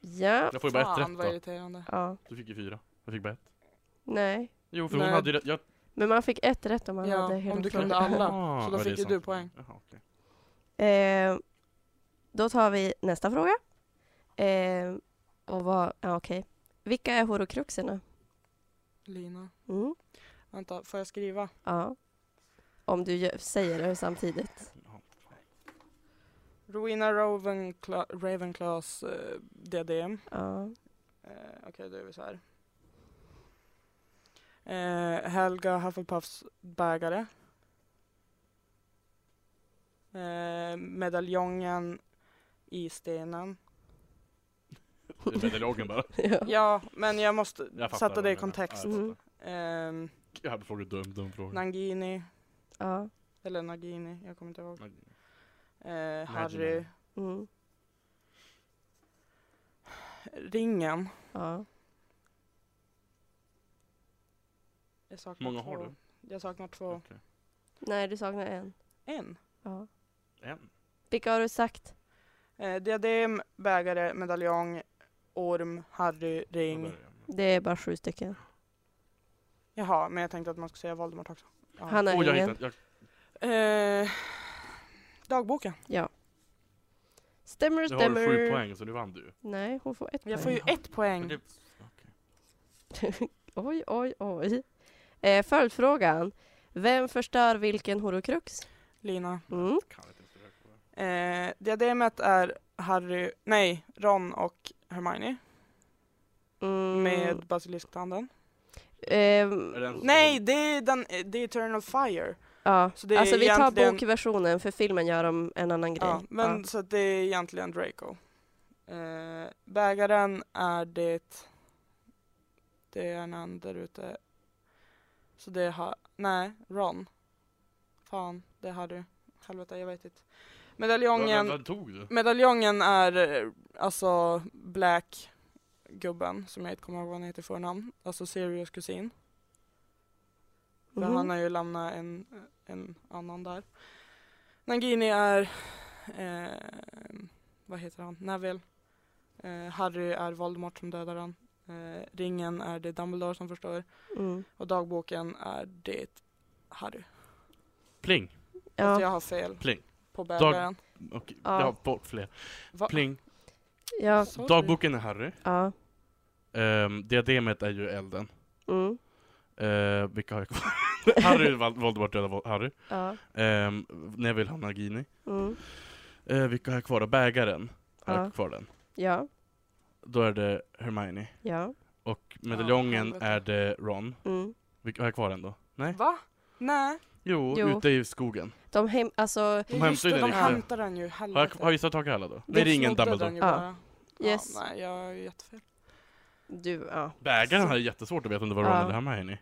[SPEAKER 2] Ja.
[SPEAKER 3] Jag får ju bara ett
[SPEAKER 4] Fan
[SPEAKER 3] rätt
[SPEAKER 4] vad
[SPEAKER 3] då.
[SPEAKER 4] irriterande.
[SPEAKER 2] ja.
[SPEAKER 3] Du fick ju fyra. Jag fick bara ett.
[SPEAKER 2] Nej.
[SPEAKER 3] Jo, för
[SPEAKER 4] Nej.
[SPEAKER 3] hon hade ju rätt. Jag...
[SPEAKER 2] Men man fick ett rätt om man
[SPEAKER 4] Ja,
[SPEAKER 2] hade hela
[SPEAKER 4] om du
[SPEAKER 2] frågan.
[SPEAKER 4] kunde alla.
[SPEAKER 3] Ah,
[SPEAKER 4] Så då
[SPEAKER 3] ja, det
[SPEAKER 4] fick
[SPEAKER 3] är
[SPEAKER 4] ju
[SPEAKER 3] sant.
[SPEAKER 4] du poäng.
[SPEAKER 3] Jaha, okej.
[SPEAKER 2] Eh, då tar vi nästa fråga. Eh, och vad... Ja, okej. Vilka är horokruxerna?
[SPEAKER 4] Lina.
[SPEAKER 2] Mm.
[SPEAKER 4] Vänta, får jag skriva?
[SPEAKER 2] Ja. Om du gör, säger det samtidigt.
[SPEAKER 3] Ja, fan.
[SPEAKER 4] Rowena Ravenclaw, Ravenclaws eh, diadem.
[SPEAKER 2] Ja.
[SPEAKER 4] Eh, Okej, då är vi så här. Eh, Helga Hufflepuffs bägare. Eh, medaljongen i stenen.
[SPEAKER 3] Det är medaljongen bara.
[SPEAKER 2] ja.
[SPEAKER 4] Ja, men jag måste
[SPEAKER 2] Oh.
[SPEAKER 3] Jag fattar
[SPEAKER 4] sätta
[SPEAKER 3] vad
[SPEAKER 4] det i
[SPEAKER 3] du menar.
[SPEAKER 4] kontext.
[SPEAKER 3] Ja, jag
[SPEAKER 2] Mm.
[SPEAKER 3] fattar.
[SPEAKER 4] Ehm,
[SPEAKER 3] jävla frågor, dum, dum fråga.
[SPEAKER 4] Nangini,
[SPEAKER 2] Ja.
[SPEAKER 4] eller Nagini, jag kommer inte ihåg.
[SPEAKER 3] Nagini.
[SPEAKER 4] Eh, Harry.
[SPEAKER 2] Mm.
[SPEAKER 4] Ringen.
[SPEAKER 2] Ja.
[SPEAKER 4] Jag saknar
[SPEAKER 3] Många
[SPEAKER 4] två.
[SPEAKER 3] har du?
[SPEAKER 4] Jag saknar två.
[SPEAKER 3] Okej.
[SPEAKER 2] Nej, du saknar en.
[SPEAKER 4] En.
[SPEAKER 2] Ja.
[SPEAKER 3] En.
[SPEAKER 2] Vilka har du sagt?
[SPEAKER 4] Eh, diadem, bägare, medaljong, orm, Harry,
[SPEAKER 3] Ja, där
[SPEAKER 4] ring.
[SPEAKER 3] är jag.
[SPEAKER 2] Det är bara sju stycken.
[SPEAKER 4] Jaha, men jag tänkte att man skulle säga Voldemort också. Ja.
[SPEAKER 2] Han har
[SPEAKER 3] Åh, Oh, jag
[SPEAKER 2] ingen.
[SPEAKER 3] hittade, jag,
[SPEAKER 4] Eh, dagboken.
[SPEAKER 2] Stämmer,
[SPEAKER 3] nu har du sju
[SPEAKER 2] stämmer.
[SPEAKER 3] poäng så nu vann du.
[SPEAKER 2] Nej, hon får ett
[SPEAKER 4] Jag får
[SPEAKER 2] poäng.
[SPEAKER 4] ju ett
[SPEAKER 3] Men
[SPEAKER 4] poäng.
[SPEAKER 3] det,
[SPEAKER 2] Oj, oj, oj. Eh, följdfrågan. Vem förstör vilken horocrux?
[SPEAKER 4] Lina.
[SPEAKER 2] Mm.
[SPEAKER 3] kan inte ens försöka på det.
[SPEAKER 4] Eh, diademet är Harry, nej, Ron och Hermione
[SPEAKER 2] Mm.
[SPEAKER 4] med basilistanden.
[SPEAKER 2] Ehm,
[SPEAKER 3] Är det en-
[SPEAKER 4] Nej, det är den, det är Eternal Fire.
[SPEAKER 2] ja.
[SPEAKER 4] Så det är
[SPEAKER 2] alltså vi tar
[SPEAKER 4] egentligen-
[SPEAKER 2] bokversionen, för filmen gör de en annan grej.
[SPEAKER 4] Ja, men så att det är egentligen Draco. Eh, bägaren är det... Det är någon där ute. Så det har... Nej, Ron. Fan, det har du. Helvete, jag vet inte.
[SPEAKER 3] Vad-
[SPEAKER 4] Medaljongen...
[SPEAKER 3] vad tog du?
[SPEAKER 4] Medaljongen är eh, alltså Black gubben som jag inte kommer ihåg vad han heter i förnamn, alltså Sirius kusin. För
[SPEAKER 2] Mhm.
[SPEAKER 4] han har ju lämnat en, en annan där. Nagini är, eh, vad heter han, Neville. Eh, Harry är Voldemort som dödar han. Eh, ringen är det Dumbledore som förstör.
[SPEAKER 2] Mm.
[SPEAKER 4] Och dagboken är det Harry.
[SPEAKER 3] Pling.
[SPEAKER 4] Fast
[SPEAKER 2] Ja,
[SPEAKER 4] Alltså, jag har fel
[SPEAKER 3] Pling.
[SPEAKER 4] på bägaren.
[SPEAKER 3] Okej,
[SPEAKER 2] Ja.
[SPEAKER 3] jag har bort fler.
[SPEAKER 4] Va?
[SPEAKER 3] Pling.
[SPEAKER 2] ja,
[SPEAKER 4] Sorry.
[SPEAKER 3] Dagboken är Harry.
[SPEAKER 2] ja.
[SPEAKER 3] Ehm, diademet är ju elden.
[SPEAKER 2] Mm.
[SPEAKER 3] Uh, vilka har jag kvar? Harry Val- Voldemort dödar Vol- Harry.
[SPEAKER 2] Ja.
[SPEAKER 3] Um, Neville har Nagini.
[SPEAKER 2] Mm.
[SPEAKER 3] Eh, vilka har jag kvar då? Bägaren. Har
[SPEAKER 2] Ja.
[SPEAKER 3] jag kvar den?
[SPEAKER 2] Ja.
[SPEAKER 3] Då är det Hermione.
[SPEAKER 2] Ja.
[SPEAKER 3] Och medaljongen
[SPEAKER 4] helvete.
[SPEAKER 3] är det Ron.
[SPEAKER 2] Mm.
[SPEAKER 3] Vilka har jag kvar den då? Nej?
[SPEAKER 4] Va? Nej.
[SPEAKER 3] Jo,
[SPEAKER 2] Jo.
[SPEAKER 3] ute i skogen.
[SPEAKER 2] De hem, alltså,
[SPEAKER 3] De hämtar ju den
[SPEAKER 4] det, de
[SPEAKER 3] riktiga.
[SPEAKER 4] hämtar den ju,
[SPEAKER 3] Har jag,
[SPEAKER 4] helvete.
[SPEAKER 3] har jag gissat tagit alla då?
[SPEAKER 4] De
[SPEAKER 3] Nej, det är ingen
[SPEAKER 4] snodde
[SPEAKER 3] Dumbledore.
[SPEAKER 4] den ju
[SPEAKER 2] Ja.
[SPEAKER 4] bara.
[SPEAKER 2] yes.
[SPEAKER 4] Ja, nej, jag är jättefel.
[SPEAKER 2] Du, ja.
[SPEAKER 3] Bägaren hade jättesvårt att veta om det var Ron
[SPEAKER 2] Ja.
[SPEAKER 3] eller Hermione.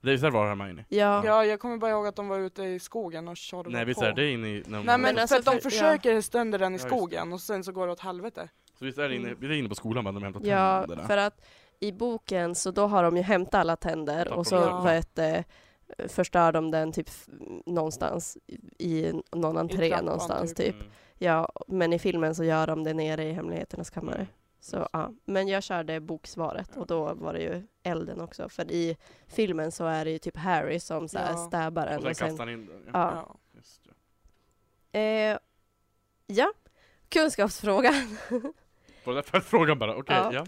[SPEAKER 3] Det visar var Hermione.
[SPEAKER 2] Ja.
[SPEAKER 4] Ja. jag kommer bara ihåg att de var ute i skogen och körde
[SPEAKER 3] Nej,
[SPEAKER 4] på.
[SPEAKER 3] visst är det inne i... När de
[SPEAKER 4] Nej men,
[SPEAKER 2] Men alltså,
[SPEAKER 4] för att de
[SPEAKER 2] för-
[SPEAKER 4] försöker stända den
[SPEAKER 3] Ja,
[SPEAKER 4] i
[SPEAKER 3] just det.
[SPEAKER 4] skogen och sen så går det åt helvete.
[SPEAKER 3] Så visst är det inne,
[SPEAKER 2] Mm.
[SPEAKER 3] vi är inne på skolan men de har hämtat
[SPEAKER 2] Ja,
[SPEAKER 3] tänderna.
[SPEAKER 2] för att i boken så då har de ju hämtat alla tänder
[SPEAKER 3] Tappar
[SPEAKER 2] och så
[SPEAKER 4] de dem.
[SPEAKER 2] vad heter, förstör de den typ f- någonstans i någon entré
[SPEAKER 4] trappan,
[SPEAKER 2] någonstans
[SPEAKER 4] typ.
[SPEAKER 2] typ.
[SPEAKER 3] Mm.
[SPEAKER 2] Ja, men i filmen så gör de det nere i hemligheternas kammare. Så, ja. Men jag körde boksvaret och då var det ju elden också. För i filmen så är det ju typ Harry som så här
[SPEAKER 4] Ja.
[SPEAKER 2] stäbar en.
[SPEAKER 3] Och sen
[SPEAKER 2] Och sen,
[SPEAKER 3] kastar han in den. Ja.
[SPEAKER 2] ja.
[SPEAKER 4] Ja.
[SPEAKER 3] Just det.
[SPEAKER 2] Eh, ja, kunskapsfråga.
[SPEAKER 3] Var det därför frågan bara? Okej,
[SPEAKER 2] Ja.
[SPEAKER 3] ja.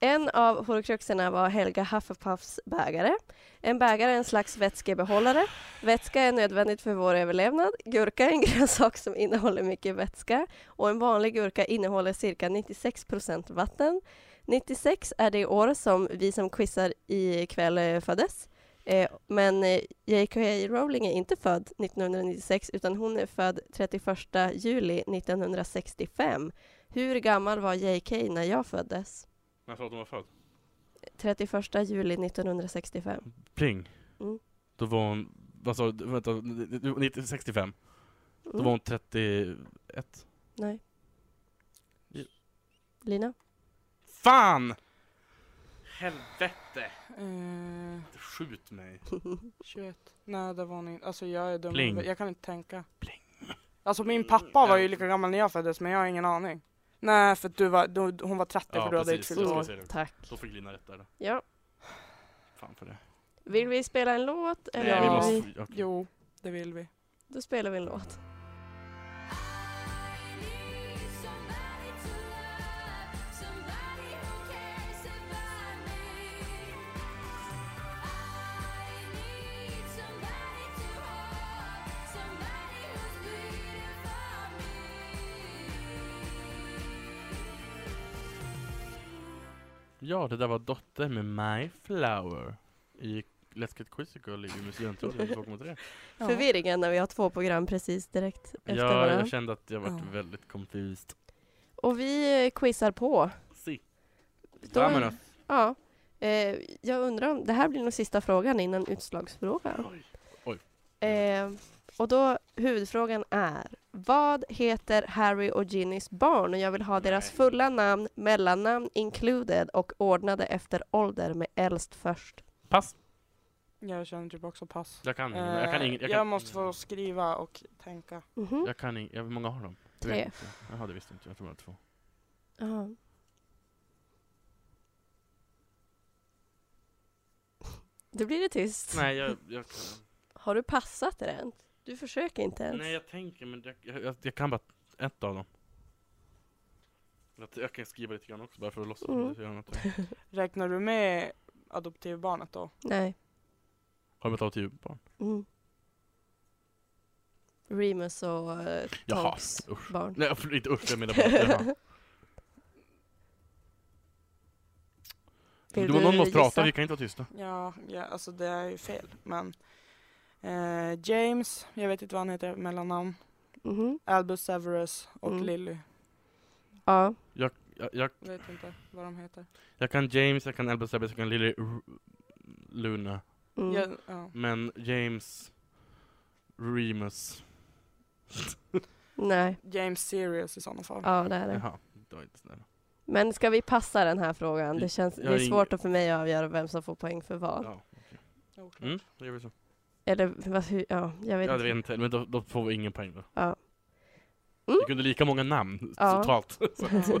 [SPEAKER 2] En av horokruxerna var Helga Hufflepuffs bägare. En bägare är en slags vätskebehållare. Vätska är nödvändigt för vår överlevnad. Gurka är en grönsak som innehåller mycket vätska och en vanlig gurka innehåller cirka 96 procent vatten. 96 är det år som vi som quizar ikväll eh, föddes. Eh, men eh, J.K. Rowling är inte född 1996 utan hon är född 31 juli 1965. Hur gammal var J.K. när jag föddes?
[SPEAKER 3] När sa att hon var född?
[SPEAKER 2] 31 juli 1965.
[SPEAKER 3] Pling.
[SPEAKER 2] Mm.
[SPEAKER 3] Då var hon, vad sa du, vänta, 1965. Då
[SPEAKER 2] Mm.
[SPEAKER 3] var hon 31.
[SPEAKER 2] Nej.
[SPEAKER 3] Ja.
[SPEAKER 2] Lina?
[SPEAKER 3] Fan! Helvete!
[SPEAKER 4] Eh,
[SPEAKER 3] Skjut mig.
[SPEAKER 4] 21. Nej det var ni Alltså jag är dum.
[SPEAKER 3] Pling.
[SPEAKER 4] Jag kan inte tänka.
[SPEAKER 3] Pling.
[SPEAKER 4] Alltså min pappa var ju lika gammal när jag föddes men jag har ingen aning. Nej för att du var, du, hon var 30
[SPEAKER 3] Ja,
[SPEAKER 4] för du hade inte
[SPEAKER 3] precis.
[SPEAKER 4] fyllt
[SPEAKER 3] Jag
[SPEAKER 4] år.
[SPEAKER 3] skulle säga det.
[SPEAKER 2] Tack.
[SPEAKER 3] Då fick Lina rätt där. då.
[SPEAKER 2] Ja.
[SPEAKER 3] Fan för det.
[SPEAKER 2] Vill vi spela en låt? Eller
[SPEAKER 3] Nej, vi
[SPEAKER 4] Ja.
[SPEAKER 3] måste... okej.
[SPEAKER 4] Jo, det vill vi.
[SPEAKER 2] Då spelar vi en låt.
[SPEAKER 3] Ja, det där var Dotter med My Flower i Let's Get Quizzical i Umeå studentradion 2,3.
[SPEAKER 4] Ja.
[SPEAKER 2] Förvirringen när vi har två program precis direkt efter
[SPEAKER 3] Ja,
[SPEAKER 2] varandra.
[SPEAKER 3] jag kände att jag varit
[SPEAKER 4] Ja.
[SPEAKER 3] väldigt confused.
[SPEAKER 2] Och vi eh, quizar på.
[SPEAKER 3] Si.
[SPEAKER 2] Då,
[SPEAKER 3] Ja, men,
[SPEAKER 2] ja. Eh, jag undrar om, det här blir nog sista frågan innan utslagsfrågan.
[SPEAKER 3] Oj.
[SPEAKER 2] Eh, och då huvudfrågan är, vad heter Harry och Ginnys barn? Och jag vill ha deras
[SPEAKER 3] Nej.
[SPEAKER 2] fulla namn, mellannamn included och ordnade efter ålder med äldst först.
[SPEAKER 3] Pass.
[SPEAKER 4] Jag känner typ också pass.
[SPEAKER 3] Jag kan, jag kan
[SPEAKER 4] Eh,
[SPEAKER 3] inget. Jag,
[SPEAKER 4] jag
[SPEAKER 3] kan-
[SPEAKER 4] måste få skriva och tänka.
[SPEAKER 2] Mhm.
[SPEAKER 3] Jag kan inget. Hur många har de? Jag
[SPEAKER 2] Tre.
[SPEAKER 3] vet inte. Jaha, det visste inte jag. Jag tror bara två.
[SPEAKER 2] Ja. Då blir det tyst.
[SPEAKER 3] Nej, jag, jag kan.
[SPEAKER 2] Har du passat det än? Du försöker inte ens.
[SPEAKER 3] Nej, jag tänker, men jag, jag, jag, jag kan bara ett av dem. Jag, jag kan skriva lite grann också, bara för att låtsas
[SPEAKER 2] Mm.
[SPEAKER 3] mm. jag gör något. Har
[SPEAKER 4] Räknar du med adoptivbarnet då?
[SPEAKER 2] Nej.
[SPEAKER 3] de ett adoptivbarn?
[SPEAKER 2] Mm. Remus och uh,
[SPEAKER 3] Jaha,
[SPEAKER 2] Tonks
[SPEAKER 3] usch.
[SPEAKER 2] barn.
[SPEAKER 3] Nej, för, inte usch, jag menar bara... Jaha.
[SPEAKER 2] Vill
[SPEAKER 3] Du, någon måste prata,
[SPEAKER 2] gissa?
[SPEAKER 3] vi kan inte vara tysta.
[SPEAKER 4] Ja, ja alltså det är ju fel, men eh, James, jag vet inte vad han heter i mellannamn,
[SPEAKER 2] Mhm.
[SPEAKER 4] Albus Severus och
[SPEAKER 2] Mm.
[SPEAKER 4] Lily.
[SPEAKER 2] Ja.
[SPEAKER 3] Jag, jag, jag,
[SPEAKER 4] Vet inte vad de heter.
[SPEAKER 3] jag kan James, jag kan Elbus Ebbes, jag kan Lily R- Luna.
[SPEAKER 2] Mm.
[SPEAKER 4] Ja, ja.
[SPEAKER 3] Men James Remus.
[SPEAKER 2] Nej.
[SPEAKER 4] James Sirius i sådana fall.
[SPEAKER 2] Ja, det är det.
[SPEAKER 3] Jaha, det var inte snäll. Men
[SPEAKER 2] Men ska vi passa den här frågan? Det, känns,
[SPEAKER 3] Jag
[SPEAKER 2] det är
[SPEAKER 3] har ing-
[SPEAKER 2] svårt för mig att avgöra vem som får poäng för vad.
[SPEAKER 3] Ja, okej.
[SPEAKER 4] Oklart.
[SPEAKER 3] mm, då gör vi så.
[SPEAKER 2] Eller vad, hur, ja, jag vet
[SPEAKER 3] Ja, det
[SPEAKER 2] inte.
[SPEAKER 3] vet inte, men då, då får vi ingen poäng då.
[SPEAKER 2] Ja. Mm.
[SPEAKER 3] Vi kunde lika många namn
[SPEAKER 2] Ja.
[SPEAKER 3] totalt. Så- så-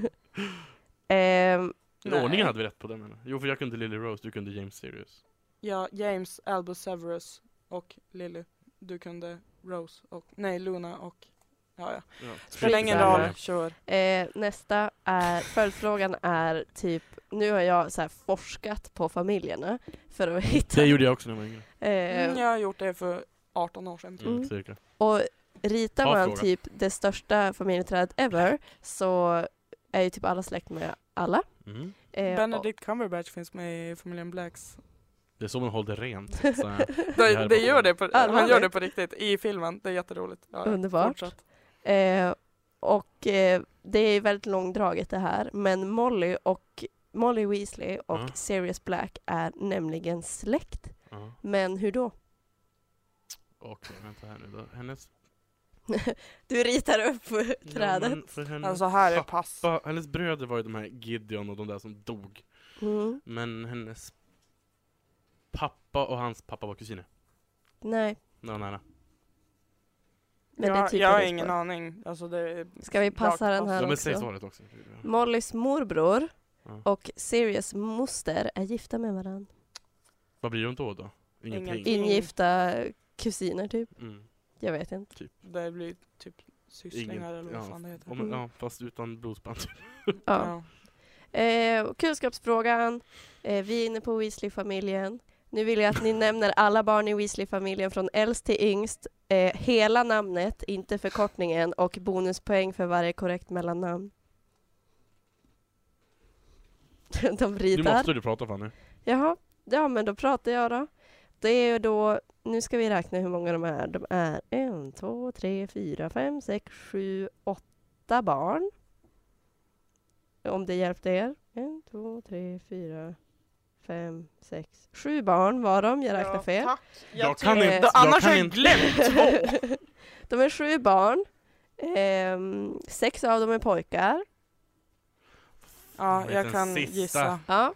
[SPEAKER 2] Ehm,
[SPEAKER 3] Men
[SPEAKER 4] Nej.
[SPEAKER 3] Ordningen hade vi rätt på den eller? Jo för jag kunde Lily Rose, du kunde James Sirius.
[SPEAKER 4] Ja, James, Albus Severus och Lily. Du kunde Rose och, nej Luna och, ja ja.
[SPEAKER 3] Ja.
[SPEAKER 4] Spelar ingen
[SPEAKER 2] Skitsamma.
[SPEAKER 4] roll, sure.
[SPEAKER 2] Eh, nästa är, följdfrågan är typ, nu har jag så här forskat på familjerna för att hitta.
[SPEAKER 3] Mm, Det gjorde jag också när jag var yngre.
[SPEAKER 2] Eh,
[SPEAKER 4] Mm, jag har gjort det för 18 år sedan.
[SPEAKER 3] Mm,
[SPEAKER 2] Mm.
[SPEAKER 3] Cirka.
[SPEAKER 2] Och ritar
[SPEAKER 3] Ta
[SPEAKER 2] man
[SPEAKER 3] frågan.
[SPEAKER 2] typ det största familjeträdet ever så är ju typ alla släkt med alla.
[SPEAKER 3] Mm.
[SPEAKER 2] Eh,
[SPEAKER 4] Benedict Cumberbatch finns med i familjen Blacks.
[SPEAKER 3] Det är så man håller rent. Så här.
[SPEAKER 4] Det, det gör det på, han
[SPEAKER 2] Allvarligt?
[SPEAKER 4] gör det på riktigt i filmen, det är jätteroligt. Ja, ja.
[SPEAKER 2] Underbart.
[SPEAKER 4] Fortsätt.
[SPEAKER 2] och, eh, och eh, det är väldigt långdraget det här men Molly och Molly Weasley och
[SPEAKER 3] Ja.
[SPEAKER 2] Sirius Black är nämligen släkt.
[SPEAKER 3] Ja.
[SPEAKER 2] Men hur då?
[SPEAKER 3] Okej, vänta här nu då. Hennes...
[SPEAKER 2] Du ritar upp
[SPEAKER 3] Ja,
[SPEAKER 2] trädet.
[SPEAKER 3] men för hennes...
[SPEAKER 4] Alltså här är
[SPEAKER 3] pappa-
[SPEAKER 4] pass.
[SPEAKER 3] hennes bröder var ju de här Gideon och de där som dog.
[SPEAKER 2] Mm,
[SPEAKER 3] Men hennes pappa och hans pappa var kusiner.
[SPEAKER 2] nej,
[SPEAKER 3] Det var nära.
[SPEAKER 2] men det
[SPEAKER 4] jag,
[SPEAKER 2] är typ
[SPEAKER 4] jag har
[SPEAKER 2] hennes
[SPEAKER 4] ingen
[SPEAKER 2] bror.
[SPEAKER 4] aning. Alltså det är
[SPEAKER 2] Ska vi passa
[SPEAKER 4] rakt
[SPEAKER 2] den här?
[SPEAKER 3] Ja, men
[SPEAKER 2] också.
[SPEAKER 3] säg Mm. svaret också.
[SPEAKER 2] Mollys morbror
[SPEAKER 3] Ja.
[SPEAKER 2] och Sirius moster är gifta med varandra.
[SPEAKER 3] Vad blir de då då? Ingenting.
[SPEAKER 4] Ingenting.
[SPEAKER 2] Ingifta kusiner typ.
[SPEAKER 3] Mm.
[SPEAKER 2] Jag vet inte.
[SPEAKER 4] Det blir typ sysslingar
[SPEAKER 3] Ingen-
[SPEAKER 4] eller vad
[SPEAKER 3] ja.
[SPEAKER 4] fan det heter.
[SPEAKER 3] Om, ja, fast utan blodsband.
[SPEAKER 2] Ja. Eh, och kunskapsfrågan. Eh, vi är inne på Weasley-familjen. Nu vill jag att ni nämner alla barn i Weasley-familjen från äldst till yngst. Eh, hela namnet, inte förkortningen och bonuspoäng för varje korrekt mellannamn. De
[SPEAKER 3] Nu
[SPEAKER 2] ritar.
[SPEAKER 3] måste du prata Fanny.
[SPEAKER 2] Jaha, ja men då pratar jag då. Det är ju då, nu ska vi räkna hur många de är. De är en, två, tre, fyra, fem, sex, sju, åtta barn. Om det hjälpte er. En, två, tre, fyra, fem, sex, sju barn var de. Jag räknade fel.
[SPEAKER 4] Tack.
[SPEAKER 3] Jag kan
[SPEAKER 2] inte-
[SPEAKER 4] Då,
[SPEAKER 2] jag
[SPEAKER 4] annars
[SPEAKER 3] kan
[SPEAKER 4] har jag
[SPEAKER 3] inte.
[SPEAKER 4] glömt två.
[SPEAKER 2] de är sju barn. Ehm, sex av dem är pojkar.
[SPEAKER 3] Vad
[SPEAKER 4] Ja,
[SPEAKER 3] heter
[SPEAKER 4] jag
[SPEAKER 3] den
[SPEAKER 4] kan
[SPEAKER 3] sista?
[SPEAKER 4] gissa.
[SPEAKER 2] Ja,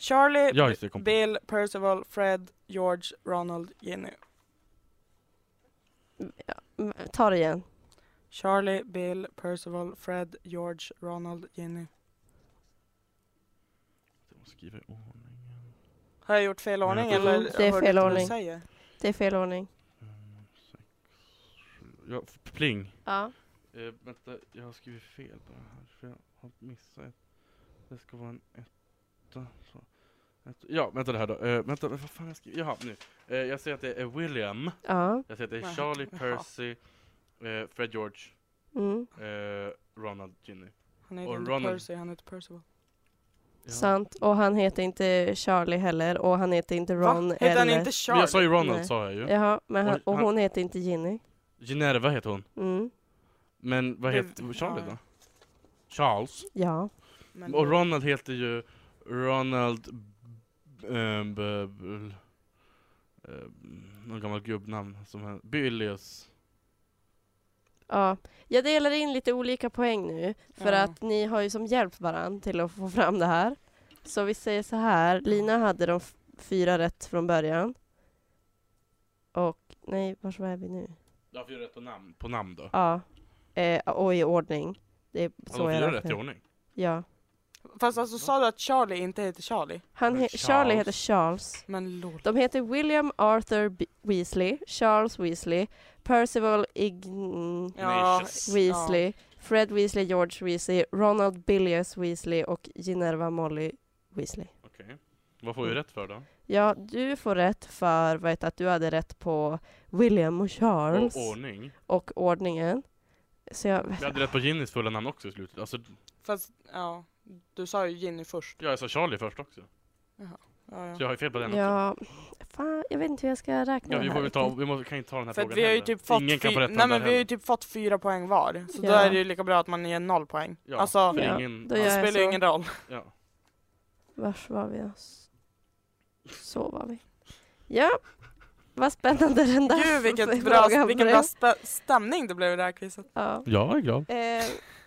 [SPEAKER 4] Charlie,
[SPEAKER 3] Ja, just det, jag kom på.
[SPEAKER 4] Bill, Percival, Fred, George, Ronald, Ginny.
[SPEAKER 2] m- Mm, ta det igen.
[SPEAKER 4] Charlie, Bill, Percival, Fred, George, Ronald, Ginny.
[SPEAKER 3] Jag måste skriva i ordningen.
[SPEAKER 4] Har jag gjort fel ordning
[SPEAKER 3] Mm,
[SPEAKER 4] eller?
[SPEAKER 2] det är
[SPEAKER 4] hörde
[SPEAKER 2] fel
[SPEAKER 4] inte vad du
[SPEAKER 2] ordning.
[SPEAKER 4] säger?
[SPEAKER 2] Det är fel ordning.
[SPEAKER 3] Fem, sex, sju. Ja, f- pling.
[SPEAKER 2] Ja.
[SPEAKER 3] Eh, vänta, jag har skrivit fel bara här. För jag har missat ett. Det ska vara en etta. Så. Ett, ja, vänta det här då. Eh, vänta, vad fan har jag skrivit? Jaha, nu. Eh, jag säger att det är William.
[SPEAKER 2] Ja.
[SPEAKER 3] Jag säger att det är
[SPEAKER 4] Nej,
[SPEAKER 3] Charlie,
[SPEAKER 4] jaha.
[SPEAKER 3] Percy, eh, Fred George,
[SPEAKER 2] Mm.
[SPEAKER 3] eh, Ronald, Ginny.
[SPEAKER 4] Han heter
[SPEAKER 3] Och
[SPEAKER 4] inte
[SPEAKER 3] Ronald.
[SPEAKER 4] Percy, han heter Percival.
[SPEAKER 3] Ja.
[SPEAKER 2] Sant. Och han heter inte Charlie heller och han heter inte Ron
[SPEAKER 4] Va?
[SPEAKER 2] eller...
[SPEAKER 4] Heter han inte
[SPEAKER 3] Men
[SPEAKER 4] Charlie?
[SPEAKER 3] jag sa ju Ronald
[SPEAKER 2] Nej.
[SPEAKER 3] sa jag ju.
[SPEAKER 2] Jaha, men han,
[SPEAKER 3] Oj,
[SPEAKER 2] och
[SPEAKER 3] han-
[SPEAKER 2] hon heter inte Ginny.
[SPEAKER 3] Generva heter hon.
[SPEAKER 2] Mm,
[SPEAKER 3] Men vad
[SPEAKER 4] Det-
[SPEAKER 3] heter Charlie
[SPEAKER 4] ja.
[SPEAKER 3] då? Charles.
[SPEAKER 2] ja.
[SPEAKER 4] Men-
[SPEAKER 3] Och Ronald heter ju Ronald... eh, b- b- eh, Någon gammal gubbnamn som heter... Byllius.
[SPEAKER 2] Ja, jag delar in lite olika poäng nu för
[SPEAKER 4] Ja.
[SPEAKER 2] att ni har ju som hjälpt varandra till att få fram det här. Så vi säger så här, Lina hade de f- fyra rätt från början. Och, nej, vars var är vi nu?
[SPEAKER 3] Du har fyra rätt på namn. På namn då.
[SPEAKER 2] Ja, eh, och i ordning. Det är så
[SPEAKER 3] Har du
[SPEAKER 2] jag
[SPEAKER 3] fyra
[SPEAKER 2] räknar.
[SPEAKER 3] rätt i ordning?
[SPEAKER 2] Ja.
[SPEAKER 4] Fast alltså sa du att Charlie inte heter Charlie?
[SPEAKER 2] Han
[SPEAKER 3] Men
[SPEAKER 2] he- Charlie
[SPEAKER 3] Charles.
[SPEAKER 2] heter Charles.
[SPEAKER 4] Men lol.
[SPEAKER 2] De heter William Arthur B- Weasley, Charles Weasley, Percival Ign...
[SPEAKER 3] Ignatius.
[SPEAKER 2] Weasley, Fred Weasley, George Weasley, Ronald Billius Weasley och Ginevra Molly Weasley.
[SPEAKER 3] Okej. Vad får vi rätt för då?
[SPEAKER 2] Ja, du får rätt för vet, att du hade rätt på William och Charles
[SPEAKER 3] Och ordning.
[SPEAKER 2] och ordningen. Så jag,
[SPEAKER 3] Vi hade rätt på Ginnys fulla namn också i slutet. Alltså,
[SPEAKER 4] Fast, ja. Du sa ju Ginny först.
[SPEAKER 3] ja, jag sa Charlie först också.
[SPEAKER 4] Ja,
[SPEAKER 3] Så
[SPEAKER 4] ja.
[SPEAKER 3] jag har ju fel på den också.
[SPEAKER 2] ja, fan, jag vet inte hur jag ska räkna
[SPEAKER 3] Ja,
[SPEAKER 2] det
[SPEAKER 3] vi, får
[SPEAKER 2] här
[SPEAKER 3] väl ta,
[SPEAKER 2] riktigt.
[SPEAKER 3] vi må, kan ju ta den här
[SPEAKER 4] För att
[SPEAKER 3] frågan
[SPEAKER 4] vi har ju
[SPEAKER 3] heller.
[SPEAKER 4] typ fått,
[SPEAKER 3] Ingen kan få
[SPEAKER 4] fy-
[SPEAKER 3] rätt
[SPEAKER 4] nej, men vi har ju typ fått fyra poäng var. Så då
[SPEAKER 2] Ja.
[SPEAKER 4] är det ju lika bra att man ger noll poäng.
[SPEAKER 3] Ja,
[SPEAKER 4] alltså,
[SPEAKER 3] för
[SPEAKER 2] Ja, alltså-
[SPEAKER 3] ingen...
[SPEAKER 2] då
[SPEAKER 4] det
[SPEAKER 2] gör jag
[SPEAKER 4] spelar ju
[SPEAKER 2] så.
[SPEAKER 4] ingen roll.
[SPEAKER 3] Ja.
[SPEAKER 2] Vars var vi? S- Så var vi. Ja, vad spännande den där
[SPEAKER 4] Gud vilket
[SPEAKER 2] frågan
[SPEAKER 4] bra, vilken
[SPEAKER 2] blev.
[SPEAKER 4] bra spä- stämning det blev i det här quizet.
[SPEAKER 2] Ja.
[SPEAKER 3] Jag är glad.
[SPEAKER 2] Eh,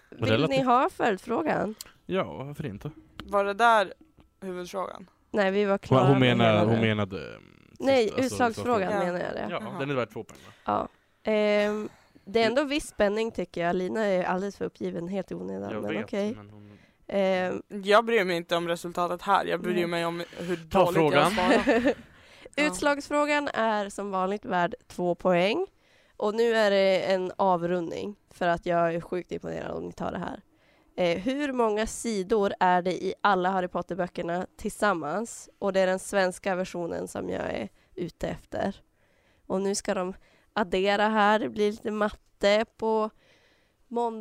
[SPEAKER 2] vill
[SPEAKER 3] Relativt.
[SPEAKER 2] ni ha följdfrågan?
[SPEAKER 3] Ja, varför inte?
[SPEAKER 4] Var det där huvudfrågan?
[SPEAKER 2] Nej, vi var
[SPEAKER 3] Hon,
[SPEAKER 2] klara
[SPEAKER 3] hon,
[SPEAKER 2] med
[SPEAKER 3] menar,
[SPEAKER 2] hela
[SPEAKER 3] hon
[SPEAKER 2] det.
[SPEAKER 3] menade... mm, sist,
[SPEAKER 2] Nej,
[SPEAKER 3] alltså,
[SPEAKER 2] utslagsfrågan
[SPEAKER 4] Ja.
[SPEAKER 2] menar jag det.
[SPEAKER 3] Ja,
[SPEAKER 4] Jaha.
[SPEAKER 3] den är värd två poäng va?
[SPEAKER 2] Ja. Ehm, det är ändå viss spänning tycker jag. Lina är alldeles för uppgiven, helt i onödan.
[SPEAKER 3] Jag
[SPEAKER 2] Men
[SPEAKER 3] vet,
[SPEAKER 2] okej.
[SPEAKER 3] men hon...
[SPEAKER 2] Ehm,
[SPEAKER 4] Jag bryr mig inte om resultatet här, jag bryr
[SPEAKER 2] Nej.
[SPEAKER 4] mig om hur
[SPEAKER 3] Ta
[SPEAKER 4] dåligt
[SPEAKER 3] frågan.
[SPEAKER 4] jag svarar. Ja.
[SPEAKER 2] Utslagsfrågan är som vanligt värd två poäng. Och nu är det en avrundning för att jag är sjukt imponerad om ni tar det här. Eh, hur många sidor är det i alla Harry Potter-böckerna tillsammans? Och det är den svenska versionen som jag är ute efter. Och nu ska de addera här, det blir lite matte på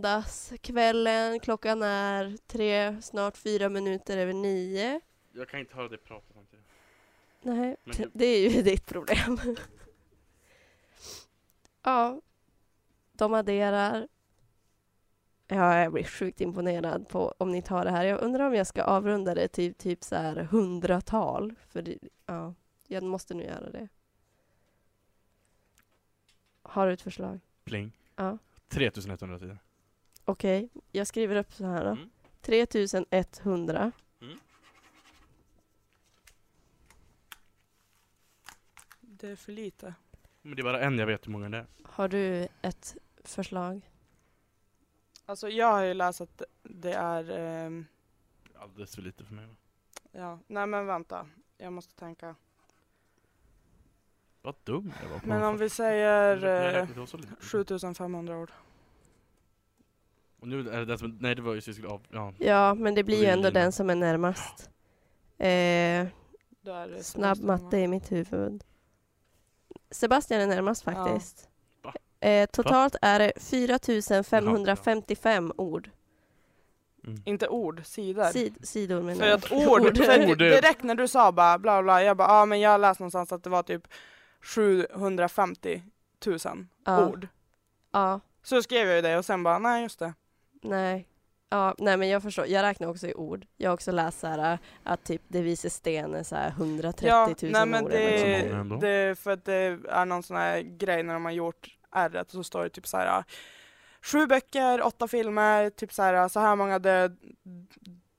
[SPEAKER 2] måndagskvällen. Klockan är tre, snart fyra minuter över nio.
[SPEAKER 3] Jag kan inte höra dig prata samtidigt.
[SPEAKER 2] Nej,
[SPEAKER 3] Men
[SPEAKER 2] t-
[SPEAKER 3] du-
[SPEAKER 2] det är ju ditt problem. ja, de adderar. Ja, jag blir sjukt imponerad på om ni tar det här. Jag undrar om jag ska avrunda det till typ så här hundratal. För det, ja, jag måste nu göra det. Har du ett förslag?
[SPEAKER 3] Pling.
[SPEAKER 2] Ja.
[SPEAKER 3] 3100 sidor.
[SPEAKER 2] Okej, jag skriver upp så här då.
[SPEAKER 3] Mm.
[SPEAKER 2] 3100.
[SPEAKER 4] Det är för lite.
[SPEAKER 3] Men det är bara en jag vet hur många det är.
[SPEAKER 2] Har du ett förslag?
[SPEAKER 4] Alltså jag har ju läst att det är, ehm,
[SPEAKER 3] Alldeles för lite för mig. va?
[SPEAKER 4] ja, nej men vänta. Jag måste tänka.
[SPEAKER 3] Vad dum jag var på
[SPEAKER 4] Men
[SPEAKER 3] honom
[SPEAKER 4] om
[SPEAKER 3] för.
[SPEAKER 4] vi säger
[SPEAKER 3] Jag
[SPEAKER 4] eh,
[SPEAKER 3] räknade, det var så lite.
[SPEAKER 4] 7500 ord.
[SPEAKER 3] Och nu är det den som... Nej, det var ju så vi skulle av... Ja.
[SPEAKER 2] Ja, men det blir ju
[SPEAKER 3] Vill
[SPEAKER 2] ändå
[SPEAKER 3] Lina.
[SPEAKER 2] den som är närmast. Eh,
[SPEAKER 4] Då är det
[SPEAKER 2] snabb
[SPEAKER 4] Sebastian, va?
[SPEAKER 2] matte i mitt huvud. Sebastian är närmast
[SPEAKER 4] Ja.
[SPEAKER 2] faktiskt.
[SPEAKER 3] Va?
[SPEAKER 2] Eh, totalt är det 4555 ord.
[SPEAKER 3] Mm.
[SPEAKER 4] Inte ord, sidor.
[SPEAKER 2] Sid, sidor menar
[SPEAKER 4] För
[SPEAKER 2] jag.
[SPEAKER 4] att ord, för
[SPEAKER 3] Ord.
[SPEAKER 4] direkt när du sa bara bla bla, jag bara ja ah, men jag har läst någonstans att det var typ 750 000
[SPEAKER 2] Ja.
[SPEAKER 4] ord.
[SPEAKER 2] Ja,
[SPEAKER 4] Så skrev jag ju det och sen bara nej just det.
[SPEAKER 2] nej. Ja, nej men jag förstår. Jag räknar också i ord. Jag har också läst så här, att typ det visar sten är så här 130 000
[SPEAKER 4] ja, nej,
[SPEAKER 2] ord.
[SPEAKER 4] men
[SPEAKER 2] eller något
[SPEAKER 4] det,
[SPEAKER 3] så många ändå.
[SPEAKER 4] det är för att det är någon sån här grej när de har gjort r så står det typ så här ja, sju böcker, åtta filmer, typ så här så här många död,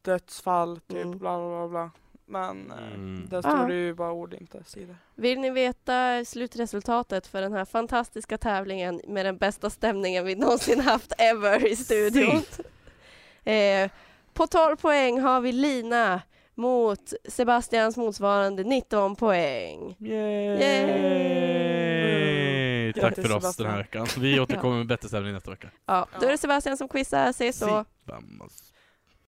[SPEAKER 4] dödsfall, typ
[SPEAKER 2] Mm.
[SPEAKER 4] bla bla bla bla. Men eh,
[SPEAKER 3] Mm.
[SPEAKER 4] där står
[SPEAKER 2] Ja.
[SPEAKER 4] det ju bara ord inte sidor.
[SPEAKER 2] Vill ni veta slutresultatet för den här fantastiska tävlingen med den bästa stämningen vi någonsin haft ever i studion? Eh, på 12 poäng har vi Lina mot Sebastians motsvarande 19 poäng.
[SPEAKER 3] Yay!
[SPEAKER 2] Yay!
[SPEAKER 3] Tack
[SPEAKER 4] Grattis,
[SPEAKER 3] för oss den
[SPEAKER 4] Sebastian.
[SPEAKER 3] här veckan. Vi återkommer med bättre stämning nästa vecka.
[SPEAKER 2] Ja, då är det Sebastian som quizar, säg så.
[SPEAKER 3] Vamos.